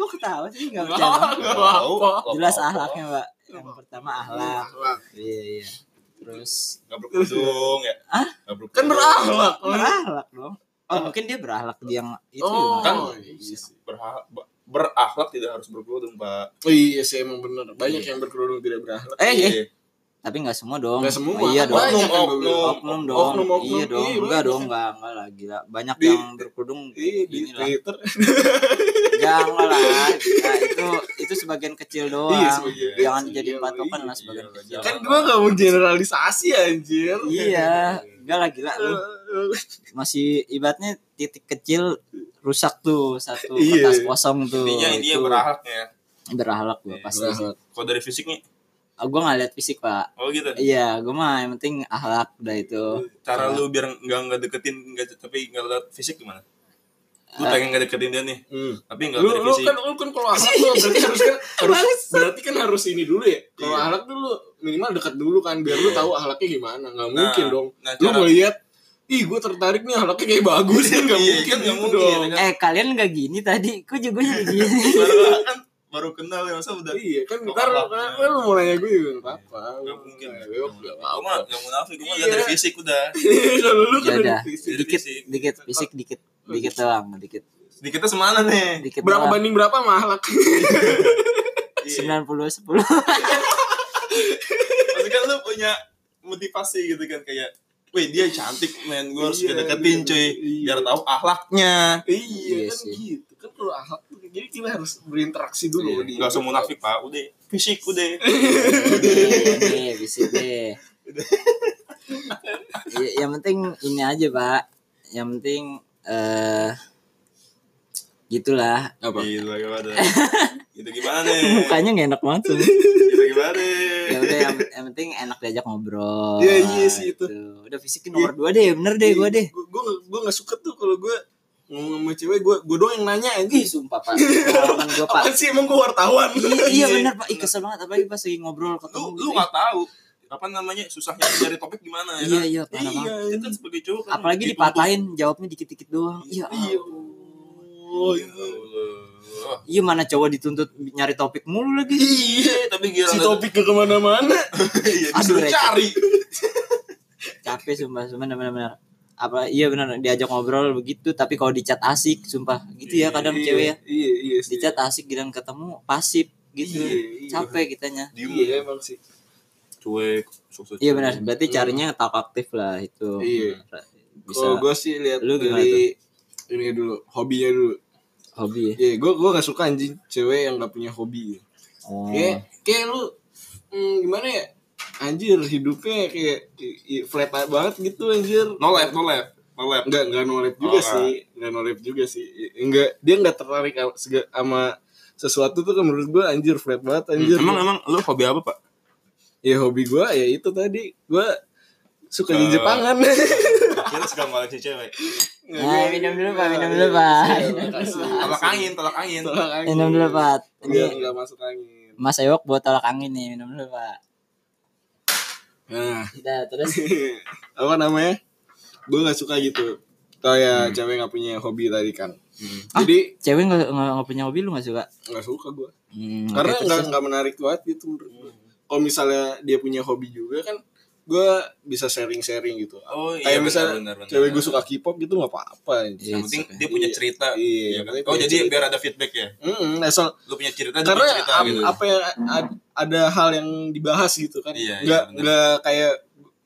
[SPEAKER 1] Kok ketawa sih nggak bercanda?
[SPEAKER 3] Enggak apa-apa.
[SPEAKER 1] Jelas ahlaknya mbak. Yang
[SPEAKER 3] Apa?
[SPEAKER 1] pertama ahlak. Iya iya. Terus
[SPEAKER 2] Gak berkudung ya
[SPEAKER 1] Hah?
[SPEAKER 2] Nggak
[SPEAKER 3] Kan
[SPEAKER 2] berkerudung.
[SPEAKER 3] berakhlak.
[SPEAKER 1] Eh, berahlak dong. Oh mungkin dia berahlak di yang itu.
[SPEAKER 3] Oh,
[SPEAKER 1] ya,
[SPEAKER 2] kan
[SPEAKER 1] makanya.
[SPEAKER 3] iya sih.
[SPEAKER 2] Berha- ba- berakhlak tidak harus berkerudung pak
[SPEAKER 3] Oh, iya sih emang bener. Banyak yang berkerudung tidak berakhlak. Eh, eh.
[SPEAKER 2] Iya.
[SPEAKER 1] Tapi nggak semua dong.
[SPEAKER 3] Nggak semua.
[SPEAKER 1] Oh, iya dong.
[SPEAKER 3] Banyak yang
[SPEAKER 2] Oknum,
[SPEAKER 3] berkerudung.
[SPEAKER 1] Oknum dong.
[SPEAKER 3] Oknum, oknum.
[SPEAKER 1] Iya dong.
[SPEAKER 3] Iya,
[SPEAKER 1] enggak
[SPEAKER 3] banyak.
[SPEAKER 1] dong, enggak, enggak lah gila. Banyak
[SPEAKER 3] Di-
[SPEAKER 1] yang berkerudung
[SPEAKER 3] Iya, di
[SPEAKER 1] gini lah.
[SPEAKER 3] Twitter.
[SPEAKER 1] Jangan lah. gila. itu itu sebagian kecil doang.
[SPEAKER 3] Iya, sebagian
[SPEAKER 1] Jangan
[SPEAKER 3] kecil.
[SPEAKER 1] jadi patokan
[SPEAKER 3] Iya,
[SPEAKER 1] lah sebagian
[SPEAKER 2] iya,
[SPEAKER 1] kecil.
[SPEAKER 3] Kan gua gak mau generalisasi anjir.
[SPEAKER 1] Iya. Enggak lah gila lu. Masih ibatnya titik kecil rusak tuh satu
[SPEAKER 3] Iya.
[SPEAKER 1] kertas kosong tuh.
[SPEAKER 2] intinya
[SPEAKER 1] Nah,
[SPEAKER 2] intinya
[SPEAKER 1] Itu
[SPEAKER 2] berakhlak ya
[SPEAKER 1] Berahlak gua
[SPEAKER 2] Iya,
[SPEAKER 1] pasti.
[SPEAKER 3] berakhlak.
[SPEAKER 2] kalau dari fisiknya
[SPEAKER 1] Ah, gua nggak lihat fisik, Pak.
[SPEAKER 2] oh gitu
[SPEAKER 1] Iya, gua mah yang penting ahlak udah itu.
[SPEAKER 2] cara
[SPEAKER 1] Nah.
[SPEAKER 2] lu biar nggak nggak deketin nggak tapi nggak lihat fisik gimana lu
[SPEAKER 1] Eh.
[SPEAKER 2] pengen nggak deketin dia nih
[SPEAKER 3] Hmm.
[SPEAKER 2] tapi nggak
[SPEAKER 3] Lu,
[SPEAKER 2] dari
[SPEAKER 3] lu
[SPEAKER 2] fisik
[SPEAKER 3] kan lu kan kalau ahlak lu berarti harus kan harus berarti kan harus ini dulu ya. Kalau
[SPEAKER 2] Iya.
[SPEAKER 3] ahlak dulu minimal dekat dulu kan biar lu
[SPEAKER 2] Iya.
[SPEAKER 3] tahu ahlaknya gimana. Nggak mungkin
[SPEAKER 2] Nah,
[SPEAKER 3] dong.
[SPEAKER 2] nah,
[SPEAKER 3] Lu
[SPEAKER 2] cara-
[SPEAKER 3] ngeliat ih gue tertarik nih ahlaknya kayak bagus kan nggak
[SPEAKER 2] Iya,
[SPEAKER 3] mungkin
[SPEAKER 2] kan nggak
[SPEAKER 3] gitu
[SPEAKER 2] mungkin,
[SPEAKER 3] dong.
[SPEAKER 2] ya kan?
[SPEAKER 1] Eh, kalian nggak gini tadi. Kok juga jadi gini?
[SPEAKER 2] baru kan baru kenal ya masa udah
[SPEAKER 3] Iya kan
[SPEAKER 2] Nggak
[SPEAKER 3] ntar
[SPEAKER 2] apa-apa.
[SPEAKER 3] kan lu mau nanya gue juga nggak apa-apa.
[SPEAKER 2] nggak mungkin
[SPEAKER 3] Nggak
[SPEAKER 2] Gua
[SPEAKER 3] apa-apa.
[SPEAKER 2] mah nggak munafik gua mah
[SPEAKER 3] Iya.
[SPEAKER 2] lihat dari fisik udah
[SPEAKER 3] Kalau lu
[SPEAKER 1] Ya
[SPEAKER 3] kan
[SPEAKER 1] udah,
[SPEAKER 3] dari fisik.
[SPEAKER 1] dikit,
[SPEAKER 2] fisik.
[SPEAKER 1] dikit, fisik dikit, dikit doang, dikit,
[SPEAKER 2] sedikitnya semana nih
[SPEAKER 1] dikit
[SPEAKER 3] berapa
[SPEAKER 1] doang.
[SPEAKER 3] banding berapa sama ahlak?
[SPEAKER 2] Iya.
[SPEAKER 1] Sembilan puluh sepuluh.
[SPEAKER 2] Maksudnya kan lu punya motivasi gitu kan kayak Wih dia cantik men, gue harus
[SPEAKER 3] Iya,
[SPEAKER 2] deketin
[SPEAKER 3] iya,
[SPEAKER 2] cuy
[SPEAKER 3] iya.
[SPEAKER 2] Biar tahu akhlaknya
[SPEAKER 3] Iya
[SPEAKER 1] Iya
[SPEAKER 3] kan
[SPEAKER 1] sih.
[SPEAKER 3] gitu kan kalau ahlak tuh jadi kita harus berinteraksi dulu. di-
[SPEAKER 2] Gak Iya, usah munafik pak, udah Fisik udah
[SPEAKER 1] Nih, fisik deh. Ya, yang penting ini aja pak. Yang penting eh gitulah.
[SPEAKER 3] Apa?
[SPEAKER 2] Gila gimana Gitu gimana nih
[SPEAKER 1] Mukanya nggak enak banget. tuh.
[SPEAKER 2] Gitu gimana
[SPEAKER 1] Ya udah, yang, yang penting enak diajak ngobrol.
[SPEAKER 3] Iya, iya sih, itu. Iya.
[SPEAKER 1] gitu. Udah fisiknya nomor dua deh, bener deh gue deh.
[SPEAKER 3] Gue gue nggak suka tuh kalau gue ngomong sama cewek gue gue doang yang nanya
[SPEAKER 1] Ih,
[SPEAKER 3] anjing.
[SPEAKER 1] sumpah pak.
[SPEAKER 3] Iya.
[SPEAKER 1] Pengalaman gue pak.
[SPEAKER 3] Apa sih emang gue wartawan?
[SPEAKER 1] Iya, iya
[SPEAKER 2] Iya.
[SPEAKER 1] bener pak. Ih kesel banget apalagi pas lagi ngobrol ketemu.
[SPEAKER 2] Lu,
[SPEAKER 1] gitu.
[SPEAKER 2] lu gak tahu Apa namanya, susahnya cari topik gimana ya
[SPEAKER 1] Iya
[SPEAKER 2] kan?
[SPEAKER 1] iya parah banget.
[SPEAKER 2] Iya, kan sebagai cowok kan
[SPEAKER 1] Apalagi
[SPEAKER 2] dituntut.
[SPEAKER 1] dipatahin jawabnya dikit-dikit doang. Iya.
[SPEAKER 3] Gitu. Iya.
[SPEAKER 1] ah.
[SPEAKER 3] Oh,
[SPEAKER 2] Ya Allah.
[SPEAKER 1] Iya mana cowok dituntut nyari topik mulu lagi.
[SPEAKER 3] Iya.
[SPEAKER 2] Eh, Tapi gila
[SPEAKER 3] Si topik ke kemana-mana.
[SPEAKER 2] Iya
[SPEAKER 1] Aduh,
[SPEAKER 2] disuruh
[SPEAKER 1] receh.
[SPEAKER 2] cari
[SPEAKER 1] Capek sumpah sumpah benar-benar. Apa iya benar diajak ngobrol begitu tapi kalau dicat asik sumpah gitu ya kadang
[SPEAKER 3] Iya,
[SPEAKER 1] cewek ya.
[SPEAKER 3] Iya iya. sih.
[SPEAKER 1] Dicat asik giliran ketemu pasif gitu.
[SPEAKER 3] Iya, iya.
[SPEAKER 1] Capek kitanya.
[SPEAKER 2] Diem
[SPEAKER 3] Iya emang sih.
[SPEAKER 2] Cuek Sosok
[SPEAKER 1] Iya
[SPEAKER 2] cuek.
[SPEAKER 1] benar, berarti carinya tak aktif lah itu. Nah,
[SPEAKER 3] Iya.
[SPEAKER 1] Bisa
[SPEAKER 3] Kalau gue sih lihat
[SPEAKER 1] Lu gimana
[SPEAKER 3] dari ini dulu hobinya dulu.
[SPEAKER 1] hobi ya.
[SPEAKER 3] Iya, gue gue gak suka anjing cewek yang gak punya hobi.
[SPEAKER 1] Oh.
[SPEAKER 3] Kayak kayak lu hmm, gimana ya? Anjir hidupnya kayak i- i- flat banget gitu anjir.
[SPEAKER 2] No lab, no lab, no lab.
[SPEAKER 3] Enggak enggak nolep juga
[SPEAKER 2] Oh,
[SPEAKER 3] sih, enggak nolep juga sih. I- Enggak dia enggak tertarik a- sega- sama sesuatu tuh kan menurut gue anjir flat banget anjir.
[SPEAKER 2] Emang emang lu hobi apa pak?
[SPEAKER 3] ya hobi gue ya itu tadi gue suka di
[SPEAKER 2] Eh,
[SPEAKER 3] Jepangan.
[SPEAKER 2] Kita suka malah cewek.
[SPEAKER 1] Nah, minum dulu pak, minum dulu pak.
[SPEAKER 2] Tolak angin, tolak angin.
[SPEAKER 1] Minum dulu pak. Ini
[SPEAKER 3] Enggak enggak masuk angin.
[SPEAKER 1] Mas Ewok buat tolak angin nih minum dulu pak.
[SPEAKER 3] Nah,
[SPEAKER 1] Udah terus
[SPEAKER 3] apa namanya gue nggak suka gitu
[SPEAKER 2] Hmm.
[SPEAKER 3] kayak cewek nggak punya hobi tadi kan
[SPEAKER 2] Ah.
[SPEAKER 3] jadi
[SPEAKER 1] cewek nggak nggak nggak punya hobi lu nggak suka?
[SPEAKER 3] nggak suka gue
[SPEAKER 1] Hmm,
[SPEAKER 3] karena
[SPEAKER 2] gitu
[SPEAKER 1] oke,
[SPEAKER 3] nggak
[SPEAKER 1] terus-
[SPEAKER 3] nggak menarik banget gitu menurut gue
[SPEAKER 2] Hmm.
[SPEAKER 3] kalau misalnya dia punya hobi juga kan gue bisa sharing-sharing gitu
[SPEAKER 2] Oh, iya, benar,
[SPEAKER 3] kayak misalnya
[SPEAKER 2] benar, benar.
[SPEAKER 3] cewek gue suka K-pop gitu nggak apa-apa
[SPEAKER 1] Iya.
[SPEAKER 2] Yang penting dia punya
[SPEAKER 3] Iya.
[SPEAKER 2] cerita.
[SPEAKER 3] Iya,
[SPEAKER 2] kan?
[SPEAKER 3] penting
[SPEAKER 2] Oh
[SPEAKER 3] punya
[SPEAKER 2] jadi
[SPEAKER 3] cerita.
[SPEAKER 2] biar ada feedback ya.
[SPEAKER 3] Mm-mm, asal-
[SPEAKER 2] Lu punya cerita, dia
[SPEAKER 3] karena
[SPEAKER 2] punya cerita
[SPEAKER 3] ap-
[SPEAKER 2] gitu.
[SPEAKER 3] apa yang ad- ada hal yang dibahas gitu kan
[SPEAKER 2] Iya, iya,
[SPEAKER 3] nggak
[SPEAKER 2] benar.
[SPEAKER 3] nggak kayak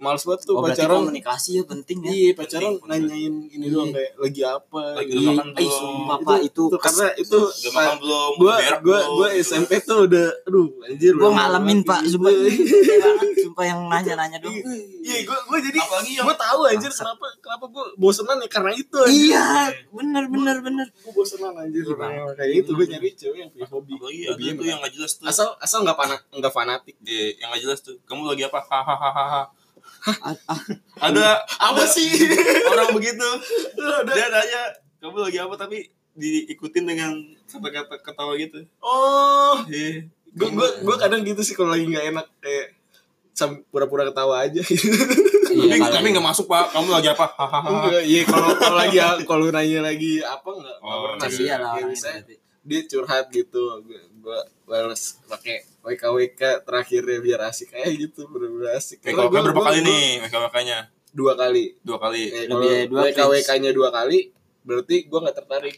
[SPEAKER 3] males banget tuh
[SPEAKER 1] Oh, berarti
[SPEAKER 3] pacaran
[SPEAKER 1] komunikasi ya penting ya.
[SPEAKER 3] iya pacaran
[SPEAKER 2] penting, penting.
[SPEAKER 3] nanyain ini doang
[SPEAKER 1] Iya.
[SPEAKER 3] kayak lagi apa
[SPEAKER 2] Lagi
[SPEAKER 3] gitu.
[SPEAKER 2] lu makan
[SPEAKER 1] Ih,
[SPEAKER 2] belum?
[SPEAKER 1] sumpah pak itu,
[SPEAKER 3] itu karena itu
[SPEAKER 2] Udah makan belum?
[SPEAKER 3] gue
[SPEAKER 2] Udah berak
[SPEAKER 3] gue
[SPEAKER 2] belum?
[SPEAKER 3] gue
[SPEAKER 2] Gitu.
[SPEAKER 3] SMP tuh udah aduh anjir
[SPEAKER 1] gue
[SPEAKER 3] udah
[SPEAKER 1] ngalamin
[SPEAKER 3] banget
[SPEAKER 1] pak
[SPEAKER 3] gitu.
[SPEAKER 1] sumpah Bete banget, sumpah yang nanya nanya dong.
[SPEAKER 3] iya gue gue jadi
[SPEAKER 2] Apalagi yang-
[SPEAKER 3] gue tahu anjir kenapa kenapa gue bosenan ya karena itu anjir.
[SPEAKER 1] Iya bener bener bener.
[SPEAKER 3] gue bosenan anjir
[SPEAKER 1] Iya,
[SPEAKER 3] karena kayak itu gue nyari cewek yang punya hobi
[SPEAKER 2] Apalagi ada
[SPEAKER 3] Hobinya
[SPEAKER 2] iya, tuh yang nggak jelas tuh.
[SPEAKER 3] asal asal nggak fanatik nggak fanatik
[SPEAKER 2] Iya, yang nggak jelas tuh. Kamu lagi apa? Hahaha.
[SPEAKER 1] Ah, ah,
[SPEAKER 2] Ada
[SPEAKER 3] apa sih
[SPEAKER 2] orang begitu.
[SPEAKER 3] Udah.
[SPEAKER 2] Dia nanya, kamu lagi apa? Tapi diikutin dengan kata-kata ketawa gitu.
[SPEAKER 3] oh
[SPEAKER 2] Iya.
[SPEAKER 3] gue gue gue kadang gitu sih kalau lagi nggak enak kayak sam pura-pura ketawa aja
[SPEAKER 1] iya,
[SPEAKER 2] Tapi-
[SPEAKER 1] kalau-
[SPEAKER 2] tapi nggak masuk pak. Kamu lagi apa?
[SPEAKER 1] Oh,
[SPEAKER 2] Hahaha.
[SPEAKER 3] Enggak, iya kalau kalau lagi kalau nanya lagi apa enggak enggak
[SPEAKER 2] Oh,
[SPEAKER 3] pernah
[SPEAKER 1] Kasihan
[SPEAKER 3] sih.
[SPEAKER 1] iya, lah
[SPEAKER 3] Kayak
[SPEAKER 1] orang itu
[SPEAKER 3] misalnya
[SPEAKER 2] Iya.
[SPEAKER 1] berarti.
[SPEAKER 3] dia curhat gitu, gua gua balas pakai WK WK terakhirnya biar asik kayak gitu, bener-bener asik. Karena
[SPEAKER 2] WKWK
[SPEAKER 3] gua-
[SPEAKER 2] berapa
[SPEAKER 3] gua-
[SPEAKER 2] kali
[SPEAKER 3] gua-
[SPEAKER 2] nih WKWK-nya?
[SPEAKER 3] Dua kali.
[SPEAKER 2] Dua kali.
[SPEAKER 3] Eh,
[SPEAKER 1] Lebih
[SPEAKER 3] kalau
[SPEAKER 1] dua
[SPEAKER 3] WK WK-nya dua kali berarti gua nggak tertarik.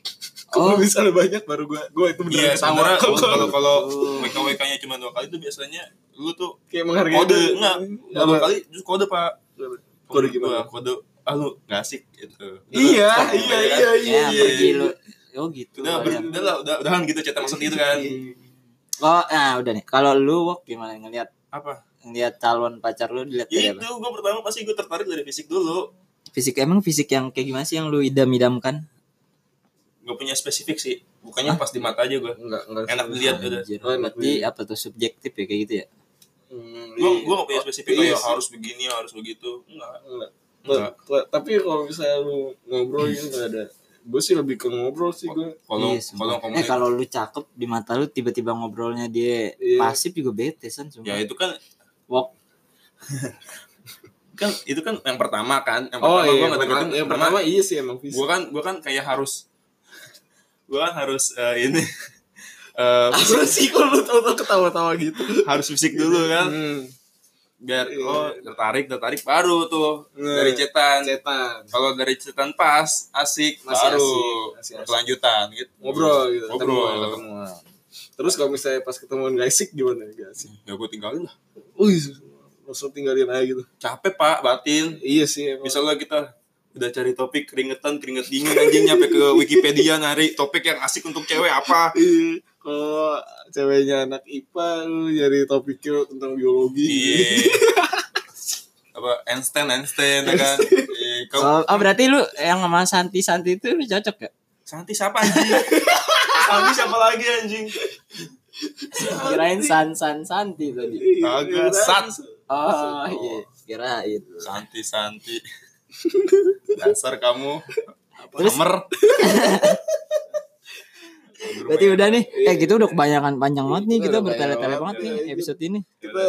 [SPEAKER 3] Kok
[SPEAKER 1] Oh.
[SPEAKER 3] oh. misalnya banyak baru gue gue itu beneran Iya.
[SPEAKER 2] Iya, sementara
[SPEAKER 3] Kok- kok-
[SPEAKER 2] kalau kalau WK WK nya cuma dua kali itu biasanya lu tuh
[SPEAKER 3] kayak menghargai
[SPEAKER 2] kode
[SPEAKER 3] itu.
[SPEAKER 2] enggak
[SPEAKER 3] Apa?
[SPEAKER 2] dua kali justru kode pak
[SPEAKER 3] Kode
[SPEAKER 2] Menurut gua,
[SPEAKER 3] gimana?
[SPEAKER 2] kode ah lu nggak asik gitu
[SPEAKER 3] Iya,
[SPEAKER 2] Terus, ya
[SPEAKER 3] iya,
[SPEAKER 2] kan?
[SPEAKER 3] iya, iya.
[SPEAKER 1] ya pergi lu oh gitu
[SPEAKER 2] udah
[SPEAKER 1] banyak.
[SPEAKER 2] ber, udah lah udah udahan gitu cetak maksud itu kan
[SPEAKER 3] Iya.
[SPEAKER 1] oh nah udah nih kalau lu Wok, gimana ngelihat
[SPEAKER 2] apa
[SPEAKER 1] ngelihat calon pacar lu dilihat
[SPEAKER 3] Iya,
[SPEAKER 1] dari
[SPEAKER 2] itu
[SPEAKER 1] apa
[SPEAKER 2] gue pertama pasti gue tertarik dari fisik dulu
[SPEAKER 1] fisik emang fisik yang kayak gimana sih yang lu idam-idamkan
[SPEAKER 2] gak punya spesifik sih bukannya pas di mata aja gue
[SPEAKER 3] Enggak, enggak.
[SPEAKER 2] enak dilihat udah
[SPEAKER 1] Anjir,
[SPEAKER 3] Oh, enak
[SPEAKER 1] berarti
[SPEAKER 2] iya.
[SPEAKER 1] apa tuh subjektif ya kayak gitu ya
[SPEAKER 2] gue gue gak punya spesifik
[SPEAKER 3] Hmm, Iya
[SPEAKER 2] kayak
[SPEAKER 3] sih.
[SPEAKER 2] harus begini harus begitu enggak
[SPEAKER 3] Enggak.
[SPEAKER 2] Enggak.
[SPEAKER 3] Ta- Tapi kalau misalnya lu ngobrol gitu enggak ada. Gue sih lebih ke ngobrol sih gue.
[SPEAKER 2] kalau
[SPEAKER 1] Iya, sumpah.
[SPEAKER 2] kalau
[SPEAKER 1] eh
[SPEAKER 2] komunikasi
[SPEAKER 1] kalau lu cakep di mata lu tiba-tiba ngobrolnya dia
[SPEAKER 3] Iya.
[SPEAKER 1] pasif juga bete san
[SPEAKER 2] ya
[SPEAKER 1] cuma
[SPEAKER 2] itu kan
[SPEAKER 1] Wok
[SPEAKER 2] kan itu kan yang pertama kan yang pertama
[SPEAKER 3] Oh iya,
[SPEAKER 2] gue
[SPEAKER 3] yang
[SPEAKER 2] nggak
[SPEAKER 3] pertama,
[SPEAKER 2] deketin
[SPEAKER 3] yang pertama iya sih emang fisik.
[SPEAKER 2] gue kan gue kan kayak harus gue kan harus eh, ini eh,
[SPEAKER 3] Apa sih kalau lu tau-tau ketawa-tawa gitu?
[SPEAKER 2] harus fisik dulu kan
[SPEAKER 3] Hmm.
[SPEAKER 2] biar
[SPEAKER 3] Iya.
[SPEAKER 2] oh tertarik tertarik baru tuh
[SPEAKER 3] Iya.
[SPEAKER 2] dari cetan
[SPEAKER 3] Cetan.
[SPEAKER 2] kalau dari cetan pas asik
[SPEAKER 3] Masih
[SPEAKER 2] baru
[SPEAKER 3] asik, masih asik.
[SPEAKER 2] kelanjutan gitu
[SPEAKER 3] Ngobrol gitu.
[SPEAKER 2] Ngobrol.
[SPEAKER 3] ketemuan, ketemuan. Terus kalau misalnya pas ketemuan gak asik gimana? Gak asik.
[SPEAKER 2] ya gue tinggalin lah
[SPEAKER 3] Wih, langsung tinggalin aja gitu.
[SPEAKER 2] capek pak batin
[SPEAKER 3] Iya sih emang.
[SPEAKER 2] misalnya kita udah cari topik keringetan keringet dingin anjing nyampe ke Wikipedia nari topik yang asik untuk cewek apa
[SPEAKER 3] Iya, kalau ceweknya anak IPA lu nyari topiknya tentang biologi.
[SPEAKER 2] iya apa Einstein Einstein ya kan Iya, kau-
[SPEAKER 1] oh, oh, berarti lu yang sama Santi Santi itu lu cocok ya
[SPEAKER 2] Santi siapa anjing? Santi siapa lagi anjing?
[SPEAKER 1] kirain San San Santi tadi
[SPEAKER 3] Iya,
[SPEAKER 2] Kagak, sat.
[SPEAKER 1] oh iya kirain
[SPEAKER 2] Santi Santi. Dasar kamu.
[SPEAKER 1] Terus?
[SPEAKER 2] Kamer.
[SPEAKER 1] berarti udah nih eh gitu udah kebanyakan panjang banget nih
[SPEAKER 3] Udah
[SPEAKER 1] kita
[SPEAKER 3] banyak
[SPEAKER 1] bertele-tele
[SPEAKER 3] banget,
[SPEAKER 1] banget nih
[SPEAKER 3] ya.
[SPEAKER 1] episode ini
[SPEAKER 3] Kita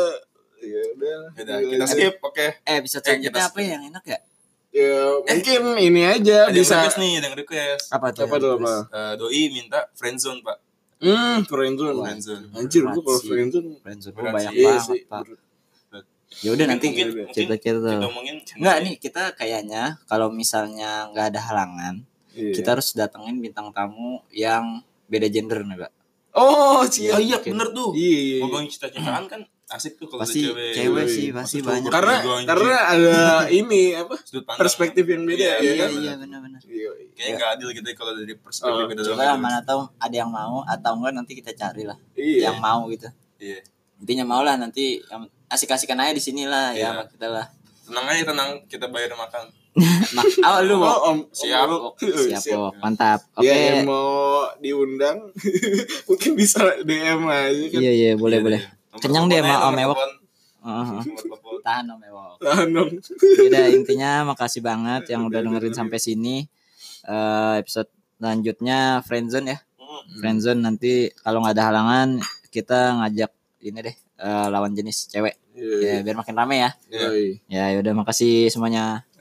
[SPEAKER 3] ya udah.
[SPEAKER 2] Yaudah, kita skip, oke.
[SPEAKER 1] eh episode
[SPEAKER 2] Eh, kita
[SPEAKER 1] selanjutnya
[SPEAKER 2] skip.
[SPEAKER 1] apa yang enak ya
[SPEAKER 3] Ya, mungkin ini aja
[SPEAKER 2] Ada yang
[SPEAKER 3] bisa.
[SPEAKER 2] request nih, ada yang request.
[SPEAKER 1] apa tuh
[SPEAKER 3] Apa
[SPEAKER 1] yang
[SPEAKER 3] tuh,
[SPEAKER 1] terus?
[SPEAKER 3] Pak?
[SPEAKER 2] Eh, doi minta friendzone, Pak.
[SPEAKER 3] Hmm, friendzone.
[SPEAKER 2] Friendzone.
[SPEAKER 3] Anjir, gua kalau
[SPEAKER 1] Sih.
[SPEAKER 3] friendzone
[SPEAKER 1] Friendzone gua
[SPEAKER 2] Berat
[SPEAKER 1] banyak
[SPEAKER 2] sih. Iya
[SPEAKER 1] banget pak ya udah nanti
[SPEAKER 2] mungkin,
[SPEAKER 3] gitu,
[SPEAKER 2] mungkin
[SPEAKER 1] cerita-cerita
[SPEAKER 2] kita omongin
[SPEAKER 1] Enggak nih kita kayaknya kalau misalnya nggak ada halangan
[SPEAKER 3] Iya.
[SPEAKER 1] kita harus datengin bintang tamu yang beda gender nih pak
[SPEAKER 3] Oh,
[SPEAKER 2] Iya,
[SPEAKER 3] cia.
[SPEAKER 2] iya bener tuh.
[SPEAKER 3] Iya, iya.
[SPEAKER 2] Ngomongin cita-citaan kan asik tuh kalau ada
[SPEAKER 1] pasti
[SPEAKER 2] cewek.
[SPEAKER 1] cewek,
[SPEAKER 3] Iya.
[SPEAKER 1] sih pasti
[SPEAKER 2] Maksud
[SPEAKER 1] banyak
[SPEAKER 2] gua-
[SPEAKER 3] Karena
[SPEAKER 2] Gua anjing.
[SPEAKER 3] karena ada ini apa?
[SPEAKER 2] Sudut pandang.
[SPEAKER 3] Perspektif yang beda
[SPEAKER 2] Iya,
[SPEAKER 3] ya
[SPEAKER 1] iya
[SPEAKER 3] kan?
[SPEAKER 1] iya benar-benar
[SPEAKER 3] Iya.
[SPEAKER 2] Kayaknya nggak adil gitu kalau dari perspektif
[SPEAKER 3] Oh,
[SPEAKER 2] beda
[SPEAKER 1] coba lah, mana tahu ada yang mau atau enggak nanti kita cari lah
[SPEAKER 3] Iya.
[SPEAKER 1] yang mau gitu
[SPEAKER 2] Iya.
[SPEAKER 1] intinya mau lah nanti yang asik-asikan aja di sini lah
[SPEAKER 2] Iya.
[SPEAKER 1] ya sama kita lah
[SPEAKER 2] Tenang aja tenang, kita bayar makan.
[SPEAKER 1] nah awal lu Wok.
[SPEAKER 3] Oh, om,
[SPEAKER 2] Siap.
[SPEAKER 3] Om-
[SPEAKER 1] siap Wok. mantap oke
[SPEAKER 3] Dia yang mau diundang mungkin bisa DM aja kan.
[SPEAKER 1] iya iya boleh
[SPEAKER 2] Iya,
[SPEAKER 1] boleh
[SPEAKER 2] iya. Nomor
[SPEAKER 1] Kenyang deh,
[SPEAKER 2] teleponnya,
[SPEAKER 1] Ma-
[SPEAKER 2] nomor
[SPEAKER 1] Om Ewok.
[SPEAKER 2] telepon.
[SPEAKER 1] Heeh.
[SPEAKER 2] Nomor telepon.
[SPEAKER 1] tahan om Ewok.
[SPEAKER 3] Tahan dong.
[SPEAKER 1] Yaudah intinya makasih banget yang udah dengerin sampai sini Eh, episode selanjutnya friendzone ya
[SPEAKER 2] Hmm.
[SPEAKER 1] friendzone nanti kalau nggak ada halangan kita ngajak ini deh eh, lawan jenis cewek ya
[SPEAKER 3] Iya,
[SPEAKER 1] biar makin rame ya
[SPEAKER 3] iya.
[SPEAKER 1] ya yaudah makasih semuanya